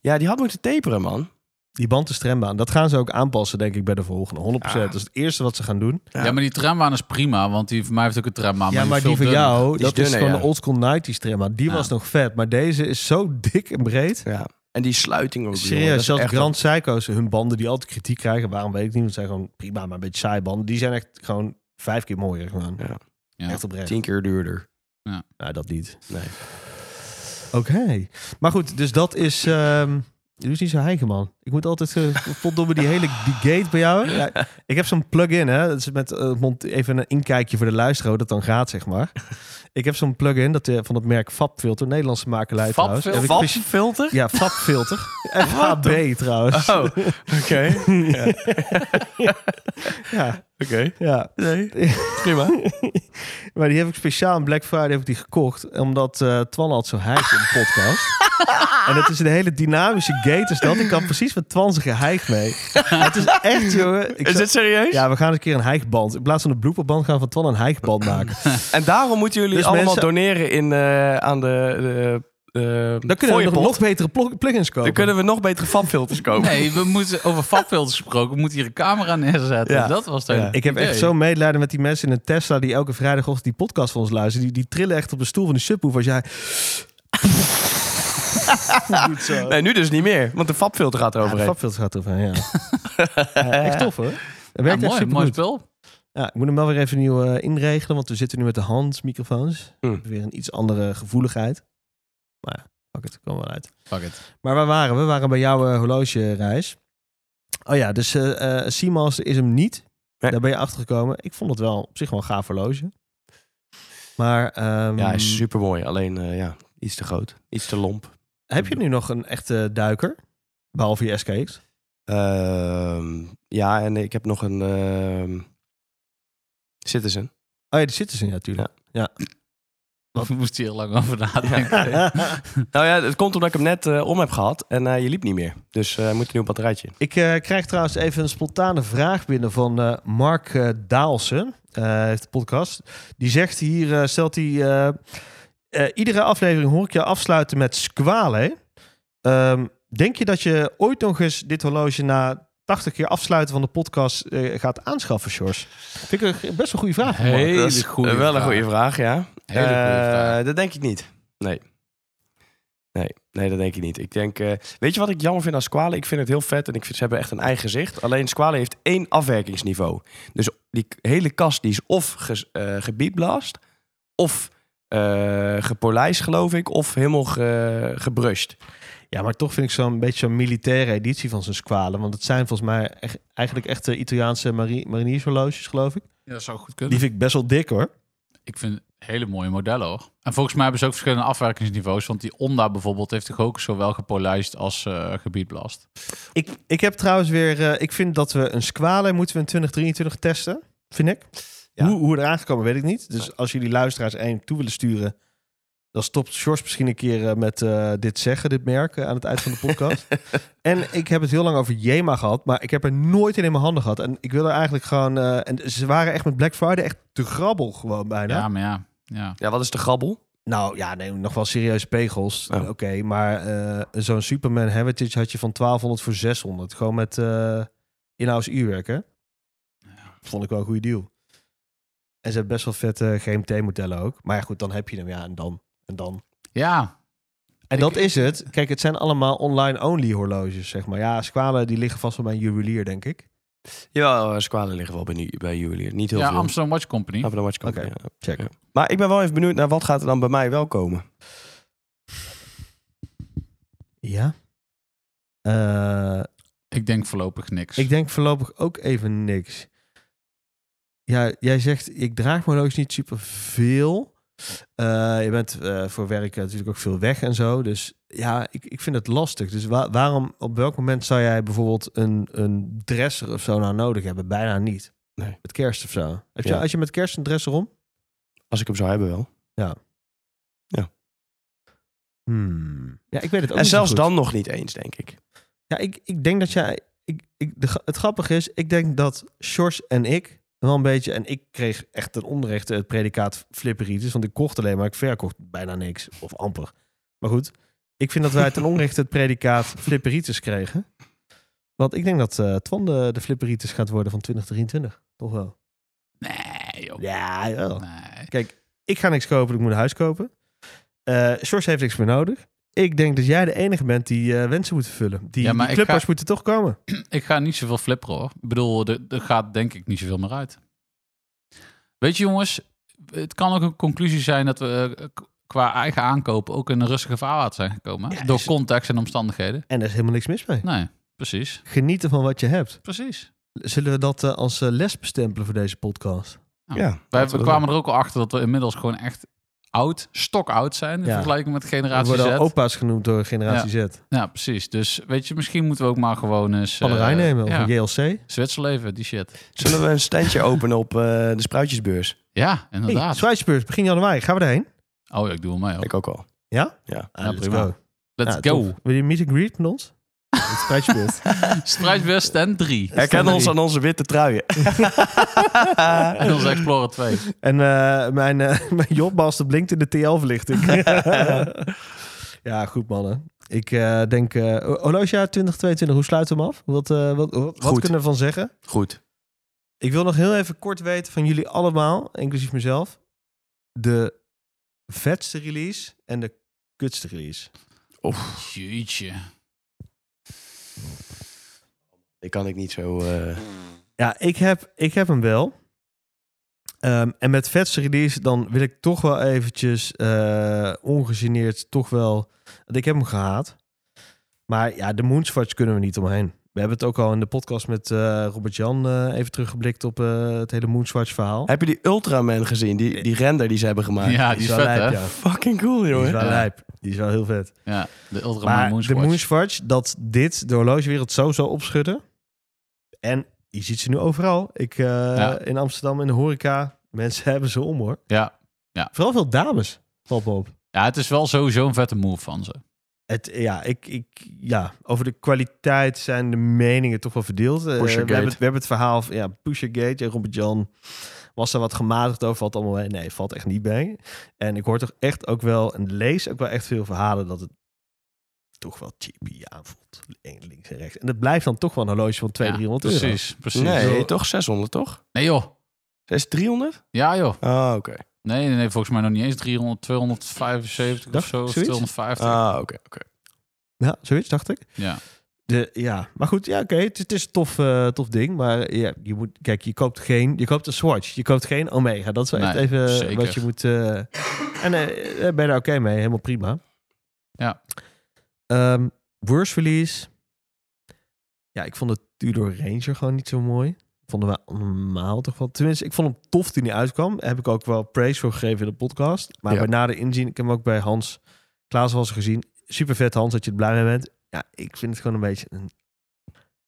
F: Ja, die had moeten taperen, man.
D: Die band is trambaan. Dat gaan ze ook aanpassen, denk ik, bij de volgende. 100%. Dat is het eerste wat ze gaan doen.
E: Ja. maar die trambaan is prima, want die van mij heeft ook een trambaan.
D: ja, maar
E: is
D: die
E: veel
D: van
E: dunner.
D: jou,
F: Die is
D: dat is
F: dunner,
D: gewoon
F: ja.
D: de oldschool 90s trambaan. Die
E: Ja.
D: was nog vet, maar deze is zo dik en breed.
F: Ja. En die sluiting ook. jongen, dat
D: Serieus,
F: is
D: zelfs
F: echt
D: Grand Seiko's, hun banden die altijd kritiek krijgen, waarom weet ik niet, want het zijn gewoon prima, maar een beetje saai banden. Die zijn echt gewoon vijf keer mooier gewoon.
F: Ja.
E: Ja.
D: Echt oprecht.
F: tien keer duurder.
D: Nou, dat niet.
F: Nee.
D: Oké. Maar goed, dus dat is... ehm je doet niet zo heigen, man. Ik moet altijd... eh, Potdomme, die hele die gate bij jou. Ja, ik heb zo'n plug-in, hè. Dat is met, eh, mond- even een inkijkje voor de luisteraar hoe dat dan gaat, zeg maar. Ik heb zo'n plug-in dat, eh, van het merk Fabfilter, Nederlandse makelij trouwens. Heb ik speci-
F: filter?
D: Ja,
F: [laughs]
D: Fabfilter. FHB trouwens.
F: Oh,
D: [laughs]
F: oké.
D: Ja,
F: Oké.
D: ja.
F: Nee. Prima.
D: [laughs] Maar die heb ik speciaal aan Black Friday heb ik die gekocht. Omdat eh Twan had zo hijgt in de podcast. en het is een hele dynamische gate is dat. Ik kan precies met Twan zijn geheig mee. Maar het is echt, jongen. Ik
F: Is
D: zou-
F: dit serieus?
D: Ja, we gaan eens een keer een hijgband. In plaats van een blooperband gaan we van Twan een hijgband
F: Oh. [laughs]
D: maken.
F: En daarom moeten jullie
D: Dus
F: allemaal
D: mensen-
F: doneren in, eh, aan de... de
D: Dan kunnen we nog, nog betere plo- plugins
F: Dan
D: kopen.
F: kunnen we nog betere fanfilters kopen.
E: Nee, we moeten over fatfilters gesproken. We moeten hier een camera neerzetten.
F: Ja.
E: Dat was het hele
D: Ik heb echt
E: idee.
D: zo'n medelijden met die mensen in een Tesla die elke vrijdagochtend die podcast van ons luisteren. Die, die trillen echt op de stoel van de subwoofer als jij... doet zo.
F: Nee, nu dus niet meer. Want de fabfilter gaat
D: Ja, de
F: eroverheen.
D: Fabfilter gaat erover,
E: [laughs]
D: ja. Ja, echt tof hoor. Dat
E: Ja,
D: werkt echt
E: mooi, mooi
D: supergoed.
E: spul.
D: Ja, ik moet hem wel weer even nieuw eh, inregelen, want we zitten nu met de handmicrofoons.
F: Hmm.
D: Weer een iets andere gevoeligheid. Maar ja, fuck het, kwam wel uit.
E: Fuck it.
D: Maar waar waren we? We waren bij jouw eh, horlogereis. Oh ja, dus eh eh Seamaster is hem niet.
F: Nee.
D: Daar ben je achter gekomen. Ik vond het wel op zich wel een gaaf horloge. Maar ehm,
F: Ja, hij is super mooi. Alleen eh, ja, iets te groot. Iets te lomp.
D: heb je nu nog een echte duiker? Behalve je SKX.
F: Ehm, ja, en ik heb nog een ehm, Citizen. [laughs]
D: Oh ja, die zitten ze in, ja, natuurlijk.
E: We moesten hier lang over nadenken.
F: Nou ja, het komt omdat ik hem net eh, om heb gehad en eh, je liep niet meer. Dus eh moet een nieuw batterijtje. in.
D: Ik eh, krijg trouwens even een spontane vraag binnen van eh, Mark eh, Daalsen. eh, Hij heeft de podcast. Die zegt hier, eh, stelt hij... eh, eh, iedere aflevering hoor ik je afsluiten met squale. Ehm, denk je dat je ooit nog eens dit horloge na 80 keer afsluiten van de podcast eh, gaat aanschaffen, Sjors? Vind ik een best wel goede vraag. van Mark.
E: Hele
F: Dat is
E: goede
F: wel een
E: vraag.
F: goede vraag, ja.
E: Hele goede
F: Eh,
E: vraag.
F: Dat denk ik niet. Nee. Nee, nee, dat denk ik niet. Ik denk, eh, weet je wat ik jammer vind aan Squale? Ik vind het heel vet en ik vind ze hebben echt een eigen gezicht. Alleen Squale heeft één afwerkingsniveau. Dus die k- hele kast die is of ge, eh, gebiedblast, of eh gepolijst geloof ik, of helemaal ge, gebrushed.
D: Ja, maar toch vind ik zo'n beetje zo'n militaire editie van zo'n squale. Want het zijn volgens mij echt- eigenlijk echte Italiaanse mari- mariniershorloges, geloof ik.
E: Ja, dat zou goed kunnen.
D: Die vind ik best wel dik, hoor.
E: Ik vind het hele mooie modellen hoor. En volgens mij hebben ze ook verschillende afwerkingsniveaus. Want die Onda bijvoorbeeld heeft toch ook zowel gepolijst als eh gebiedblast.
D: Ik, ik heb trouwens weer... eh, ik vind dat we een squale moeten we in 2023 testen. Vind ik.
F: Ja.
D: Hoe, hoe we eraan gekomen weet ik niet. Dus als jullie luisteraars één toe willen sturen... dan stopt Sjors misschien een keer eh, met eh, dit zeggen, dit merk... eh, aan het eind van de podcast. en ik heb het heel lang over Jema gehad... maar ik heb er nooit een in mijn handen gehad. En ik wil er eigenlijk gewoon... eh, en ze waren echt met Black Friday echt te grabbel gewoon bijna.
E: Ja, maar ja. ja.
F: Ja, wat is de grabbel?
D: Nou ja, nee, nog wel serieuze pegels.
F: Oh.
D: Oké, maar eh, zo'n Superman Heritage had je van 1200 voor 600. Gewoon met eh in-house uurwerk, hè? Vond ik wel een goede deal. En ze hebben best wel vette GMT-modellen ook. Maar ja, goed, dan heb je hem, ja, en dan. En dan.
E: Ja,
D: En dat is het. Kijk, het zijn allemaal online-only horloges, zeg maar. Ja, squalen die liggen vast wel bij een juwelier, denk ik.
F: Ja, Squale eh, liggen wel bij, nu- bij jullie. Niet heel
E: ja
F: veel. Ah,
E: Amsterdam Watch Company.
F: Amsterdam Watch Company,
D: Oké.
F: ja.
D: Check.
F: Ja. Maar ik ben wel even benieuwd naar wat gaat er dan bij mij wel komen.
D: Ja. Eh,
E: Ik denk voorlopig niks.
D: Ik denk voorlopig ook even niks. Ja, jij zegt, ik draag mijn horloge niet super veel. je bent eh, voor werk natuurlijk ook veel weg en zo. Dus ja, ik, ik vind het lastig. Dus wa- waarom, op welk moment zou jij bijvoorbeeld een, een dresser of zo nou nodig hebben? Bijna niet.
F: Nee.
D: Met kerst of zo. Heb je,
F: Ja.
D: Als je met kerst een dresser om?
F: Als ik hem zou hebben wel.
D: Hmm. Ja, ik weet het ook
F: en
D: niet zo
F: zelfs
D: goed.
F: dan nog niet eens, denk ik.
D: Ja, ik, ik denk dat jij. Ik, ik, de, gra- het grappige is, ik denk dat Sjors en ik wel een beetje. En ik kreeg echt ten onrechte het predicaat flipperitis. Want ik kocht alleen maar, ik verkocht bijna niks. Of amper. Maar goed, ik vind dat wij ten onrechte het predicaat flipperitis kregen. Want ik denk dat eh Twan de, de flipperitis gaat worden van 2023. Toch wel?
E: Nee, joh.
D: Ja, wel.
E: Nee.
D: Kijk, ik ga niks kopen, ik moet een huis kopen. Eh Sjors heeft niks meer nodig. Ik denk dat jij de enige bent die eh, wensen moet vervullen. Die,
E: Ja, maar ik
D: die clubbers
E: ga-
D: moeten toch komen.
E: Ik ga niet zoveel flipperen hoor. Ik bedoel, er, er gaat denk ik niet zoveel meer uit. Weet je jongens, het kan ook een conclusie zijn dat we eh, k- qua eigen aankopen ook in een rustige vaarwater zijn gekomen. hè?
D: Ja,
E: Door
D: is-
E: context en omstandigheden.
D: En daar is helemaal niks mis mee.
E: Nee, precies.
D: Genieten van wat je hebt.
E: Precies.
D: Zullen we dat eh, als eh, les bestempelen voor deze podcast?
E: Ja.
F: Ja,
E: Wij
F: laten
E: we
F: we
E: kwamen er ook al achter dat we inmiddels gewoon echt oud, stokoud zijn in
D: Ja.
E: vergelijking met
D: We
E: generatie Z.
D: worden al opa's genoemd door generatie Z.
E: Ja, precies. Dus weet je, misschien moeten we ook maar gewoon eens...
D: Van de Rijn
E: eh,
D: nemen of
E: ja,
D: een JLC.
E: Zwitserleven, die shit.
F: Zullen we een standje [laughs] openen op eh, de Spruitjesbeurs?
E: Ja,
D: Hey,
E: inderdaad.
D: Zwijsbeurs, begin januari. Gaan we erheen?
E: oh, ja, ik doe hem mee. Ook.
F: Ik ook al.
D: Ja?
F: Ja.
D: Ah,
E: Ja,
D: let's
E: prima.
D: go.
E: Let's
D: Ah,
E: go.
D: tof. Wil je een meet and greet met ons? Het Spruitjesbeurs.
E: [laughs] Strijdbeurs stand 3.
F: Herken
D: Standaard.
F: ons aan onze witte truien.
E: En onze Explorer 2.
D: En eh, mijn, eh [laughs] mijn jobmaster blinkt in de
E: [laughs]
D: TL-verlichting. [laughs] ja, goed mannen. Ik eh, denk, eh horlogejaar 2022, hoe sluiten we hem af? Wat, eh, wat, wat, wat
F: Goed.
D: kunnen we ervan zeggen?
F: [laughs] Goed.
D: Ik wil nog heel even kort weten van jullie allemaal, inclusief mezelf, de vetste release en de kutste release.
E: Jeetje.
F: Ik kan ik niet zo... eh,
D: Ja, ik heb, ik heb hem wel. Ehm, en met vetste release, dan wil ik toch wel eventjes eh, ongegeneerd toch wel... want Ik heb hem gehaat. Maar ja, de Moonswatch kunnen we niet omheen. We hebben het ook al in de podcast met eh, Robert-Jan eh, even teruggeblikt op eh, het hele Moonswatch verhaal.
F: Heb je die Ultraman gezien? Die, die render die ze hebben gemaakt?
E: Ja, die is
D: wel
E: vet,
D: lijp,
E: hè?
D: ja.
F: Fucking cool,
D: Die is
F: jongen.
D: wel
E: Ja.
D: lijp. Die is wel heel vet.
E: Ja, de Ultraman
D: Maar de
E: Moonswatch.
D: Moonswatch, dat dit de horlogewereld zo zou opschudden. En je ziet ze nu overal. Ik, eh,
E: Ja.
D: In Amsterdam, in de horeca. Mensen [laughs] hebben ze om hoor.
E: Ja.
D: Vooral veel dames. Valt me op.
E: ja, het is wel sowieso een vette move van ze.
D: Het, ja, ik, ik, ja, over de kwaliteit zijn de meningen toch wel verdeeld. Eh, we,
F: Pushergate.
D: hebben het, we hebben het verhaal van ja, Pushergate. Ja, Robert Jan was daar wat gematigd over. Valt allemaal mee. Nee, valt echt niet bij. En ik hoor toch echt ook wel en lees ook wel echt veel verhalen dat het toch wel cheapy aanvoelt. Eén Links en rechts. En dat blijft dan toch wel een horloge van 200, 300 euro.
E: precies, precies.
F: Nee, toch 600, toch?
E: Nee, joh.
F: Is het 300?
E: Ja, joh.
F: Ah, oké.
E: Nee, nee, nee, volgens mij nog niet eens 300, 275
D: Dacht
E: of zo. Of
D: zoiets?
E: 250.
F: Ah, oké, oké.
D: Ja, zoiets dacht ik.
E: Ja.
D: De, ja, maar goed, ja, oké. het, is- het is een tof, eh, tof ding. Maar ja, je moet, kijk, je koopt geen, je koopt een Swatch, je koopt geen Omega. Dat is wel echt
E: Nee,
D: even
E: zeker.
D: wat je moet. eh, en eh, daar ben je daar oké mee, helemaal prima.
E: Ja.
D: Ehm, worst release. Ja, ik vond de Tudor Ranger gewoon niet zo mooi. Vonden we normaal toch wel. Tenminste, ik vond hem tof toen hij uitkwam. Daar heb ik ook wel praise voor gegeven in de podcast. Maar
F: Ja.
D: bij nader inzien, ik heb hem ook bij Hans Klaas was gezien. Super vet Hans dat je er blij mee bent. Ja, ik vind het gewoon een beetje een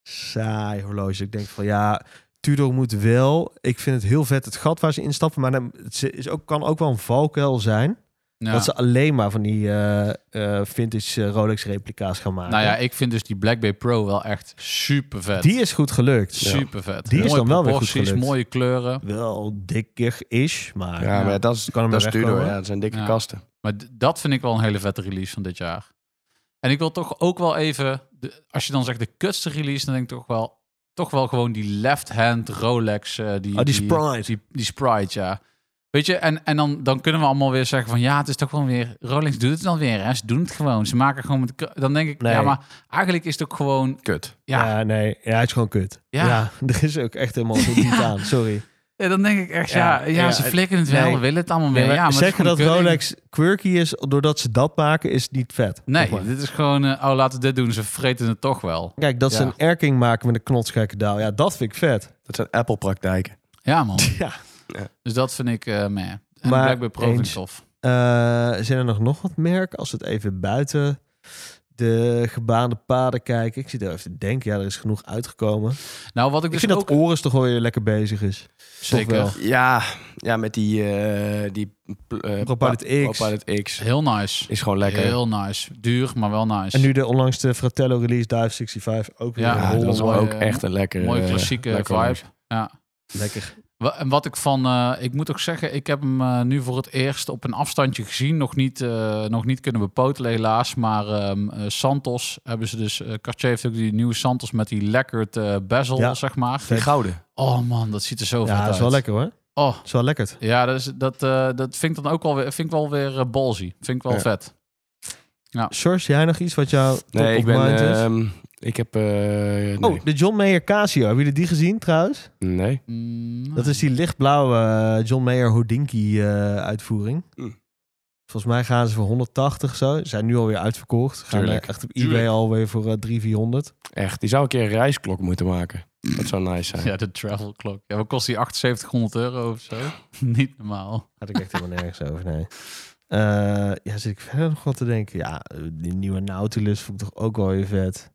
D: saai horloge. Ik denk van ja, Tudor moet wel. Ik vind het heel vet het gat waar ze instappen. Maar dan, het ze- is ook, kan ook wel een valkuil zijn.
E: Ja.
D: Dat ze alleen maar van die eh, eh, vintage eh, Rolex replica's gaan maken.
E: Nou ja, ik vind dus die Black Bay Pro wel echt super vet.
D: die is goed gelukt.
E: super vet.
D: Die is dan wel weer goed gelukt.
E: mooie kleuren.
D: Wel dikker is, maar
F: Ja, maar ja, dat is,
D: Kan hem
F: dat
D: er
F: is
D: wegkomen.
F: duurder. Ja, dat zijn dikke
E: Ja.
F: kasten.
E: Maar d- dat vind ik wel een hele vette release van dit jaar. En ik wil toch ook wel even, de- als je dan zegt de kutste release, dan denk ik toch wel, toch wel gewoon die left-hand Rolex. eh, die,
D: Oh, die Sprite.
E: Die, die Sprite, ja. Weet je, en, en dan, dan kunnen we allemaal weer zeggen van ja, het is toch gewoon weer, Rolex doet het dan weer, hè? ze doen het gewoon. Ze maken gewoon met, k- dan denk ik,
D: Nee.
E: ja, maar eigenlijk is het ook gewoon,
F: Kut.
E: ja,
D: Ja, nee. Ja, het is gewoon kut.
E: Ja.
D: Ja, [laughs] er is ook echt helemaal niet
E: Ja.
D: aan. Sorry.
E: Ja, dan denk ik echt, ja, ja,
D: Ja, ja,
E: ze
D: het-
E: flikken het wel,
D: nee.
E: willen het allemaal
D: Nee,
E: weer.
D: maar
E: Ja, maar het is
D: zeggen
E: gewoon
D: dat
E: keuring.
D: Rolex quirky is doordat ze dat maken, is niet vet.
E: Nee,
D: Zeg maar.
E: dit is gewoon, eh, oh, laten we dit doen, ze vreten het toch wel.
D: Kijk, dat ze
E: Ja.
D: een erking maken met een knotsgekke daal. Ja, dat vind ik vet.
F: Dat zijn Apple-praktijken.
E: Ja, man.
D: [laughs] Ja.
E: Dus dat vind ik eh meh. En
D: Maar
E: Blackberry Pro vind ik
D: eens.
E: tof.
D: Eh, zijn er nog, nog wat merken? Als we het even buiten de gebaande paden kijken. Ik zit er even te denken. Ja, er is genoeg uitgekomen.
E: Nou, wat ik,
D: ik
E: dus
D: vind
E: ook...
D: dat Oris toch wel weer lekker bezig is.
E: Zeker.
D: wel.
F: Ja, ja met die... eh, die uh,
D: ProPilot X.
F: X.
E: Heel nice.
F: Is gewoon lekker.
E: Heel nice. Duur, maar wel nice.
D: En nu de onlangs de Fratello release Dive 65. Ook weer
E: Ja,
F: ja,
D: heel
F: Ah, dat is
E: mooi,
F: ook
E: eh,
F: echt een lekkere...
E: Mooie klassieke
F: eh, lekker
E: vibe.
F: horloge.
E: Ja.
D: lekker.
E: Wa- En wat ik van... eh, ik moet ook zeggen, ik heb hem eh, nu voor het eerst op een afstandje gezien. Nog niet, eh, nog niet kunnen bepotelen helaas. Maar ehm, eh, Santos hebben ze dus... eh, Cartier heeft ook die nieuwe Santos met die lekkerd eh bezel,
D: Ja.
E: zeg maar.
F: Die gouden.
E: Oh man, dat ziet er zo vet
D: Ja,
E: uit.
D: dat is wel lekker hoor. Dat
E: Oh,
D: is wel lekker.
E: Ja, dat, is, dat, eh, dat vind ik dan ook wel weer, vind ik wel weer eh, ballsy. Vind ik wel
F: Ja.
E: vet.
D: Sjors, jij nog iets wat jou top
F: Nee, ik
D: of
F: ben...
D: mind is?
F: ehm, ik heb... eh, nee.
D: Oh, de John Mayer Casio. Hebben jullie die gezien trouwens?
F: nee.
E: Mm,
D: Dat is die lichtblauwe eh, John Mayer Houdinki eh, uitvoering.
F: Mm.
D: Volgens mij gaan ze voor 180 zo. Zijn nu alweer uitverkocht. Gaan eh,
F: Tuurlijk.
D: echt op eBay
F: Tuurlijk.
D: alweer voor eh, 3 400.
F: Echt. Die zou een keer een reisklok moeten maken. Dat zou nice zijn.
E: Ja, de travel clock. Ja, wat kost die 7800 euro of zo? [laughs] Niet normaal.
D: Had ik echt helemaal nergens over, nee. Eh, ja, zit ik verder nog wat te denken. Ja, eh, die nieuwe Nautilus vond ik toch ook wel weer vet.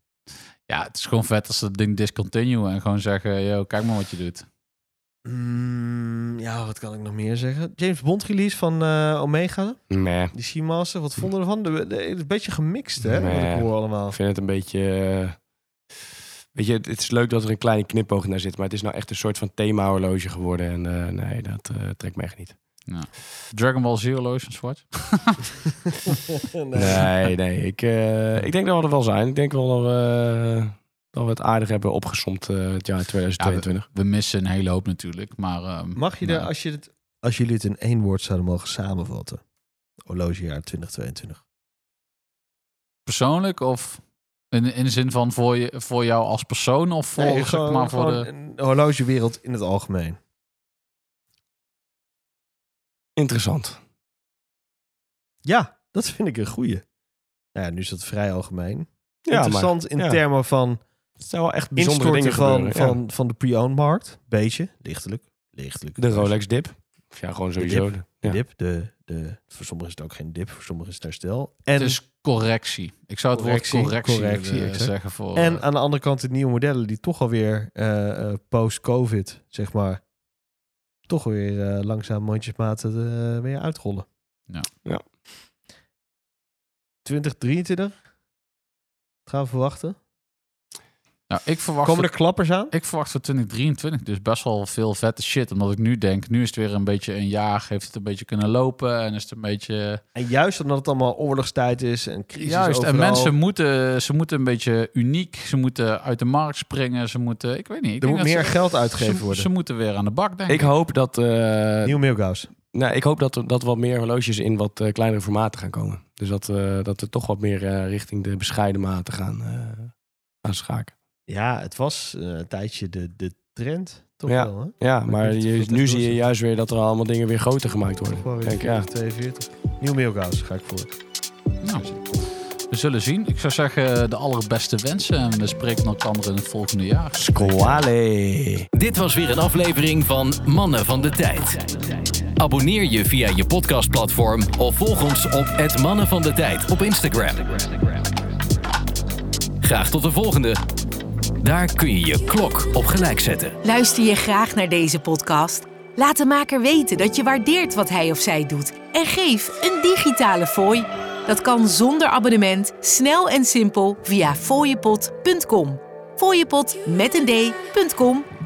E: Ja, het is gewoon vet als ze het ding discontinuen en gewoon zeggen, yo, kijk maar wat je doet.
D: Mm, ja, wat kan ik nog meer zeggen? James Bond release van eh, Omega,
F: Nee,
D: die Seamaster. Wat vonden we ervan? De, de- het is een beetje gemixt, hè? Wat
F: Nee.
D: ik hoor allemaal. [laughs]
F: ik vind het een beetje... eh, Weet je, het het is leuk dat er een kleine knipoog naar zit, maar het is nou echt een soort van themahorloge geworden. En eh, nee, dat eh, trekt me echt niet.
E: Dragon Ball Zero Lotion Swatch. [laughs]
F: Nee, nee. Ik, eh, ik denk dat we er wel zijn. Ik denk wel dat we, eh, dat we het aardig hebben opgesomd eh, het jaar 2022.
E: We missen een hele hoop natuurlijk, maar... ehm,
D: Mag je
E: nou,
D: daar, als, je het, als jullie het in één woord zouden mogen samenvatten? Horlogejaar 2022.
E: Persoonlijk of in, in de zin van voor, je, voor jou als persoon of voor, zeg maar, voor de...
D: de horlogewereld in het algemeen.
F: Interessant.
D: Ja, dat vind ik een goeie. Nou ja, nu is dat vrij algemeen.
F: Ja,
D: Interessant
F: maar-
D: in
F: ja.
D: termen van
F: Het zijn wel echt bijzondere
D: instorten
F: dingen
D: van,
F: gebeuren, ja.
D: van, van de pre-owned markt. Beetje, lichtelijk. lichtelijk.
F: De Rolex dip. Of ja, gewoon
D: dip.
F: sowieso.
D: De
F: ja.
D: dip. De, de, voor sommigen is het ook geen dip, voor sommigen is het herstel.
E: Het
D: En,
E: is correctie. Ik zou het
D: Correctie,
E: woord correctie,
D: correctie,
E: willen
D: exact.
E: zeggen voor...
D: en
E: eh,
D: aan de andere kant de nieuwe modellen die toch alweer eh, eh, post-covid, zeg maar, toch weer eh, langzaam mondjesmaat eh, weer uitrollen.
E: Ja.
F: Ja.
D: 2023? Wat gaan we verwachten?
E: nou, ik verwacht
D: Komen er klappers aan?
E: Ik verwacht voor 2023 dus best wel veel vette shit. Omdat ik nu denk, nu is het weer een beetje een jaar. Heeft het een beetje kunnen lopen en is het een beetje...
D: En juist omdat het allemaal oorlogstijd is en crisis
E: Juist, en
D: overal.
E: mensen moeten, ze moeten een beetje uniek. Ze moeten uit de markt springen. Ze moeten, ik weet niet. Ik
D: Er
E: denk
D: moet
E: dat
D: meer
E: ze,
D: geld uitgegeven
E: ze,
D: worden.
E: Ze moeten weer aan de bak, denk
F: Ik
E: ik.
F: hoop dat, eh,
D: Nieuw Milgaus.
F: nou, ik hoop dat, er, dat wat meer horloges in wat eh, kleinere formaten gaan komen. Dus dat, eh, dat we toch wat meer eh, richting de bescheiden maten gaan, eh gaan schaken.
D: Ja, het was eh, een tijdje de, de trend. Toch
F: Ja.
D: wel, hè?
F: Ja,
D: ik
F: maar
D: weet niet
F: je-
D: of dat
F: nu
D: echt
F: zie je
D: doorzet.
F: juist weer dat er allemaal dingen weer groter gemaakt
D: Toch
F: worden.
D: wel weer
F: Kijk, ja.
D: 42. Nieuw Milgaus ga ik voor.
E: Nou, we zullen zien. Ik zou zeggen, de allerbeste wensen. En we spreken elkaar in het volgende jaar.
F: Squale.
B: Dit was weer een aflevering van Mannen van de Tijd. Abonneer je via je podcastplatform of volg ons op het Mannen van de Tijd op Instagram. Graag tot de volgende. Daar kun je je klok op gelijk zetten.
A: Luister je graag naar deze podcast? Laat de maker weten dat je waardeert wat hij of zij doet en geef een digitale fooi. Dat kan zonder abonnement, snel en simpel via fooiepot.com. Fooiepot met een d.com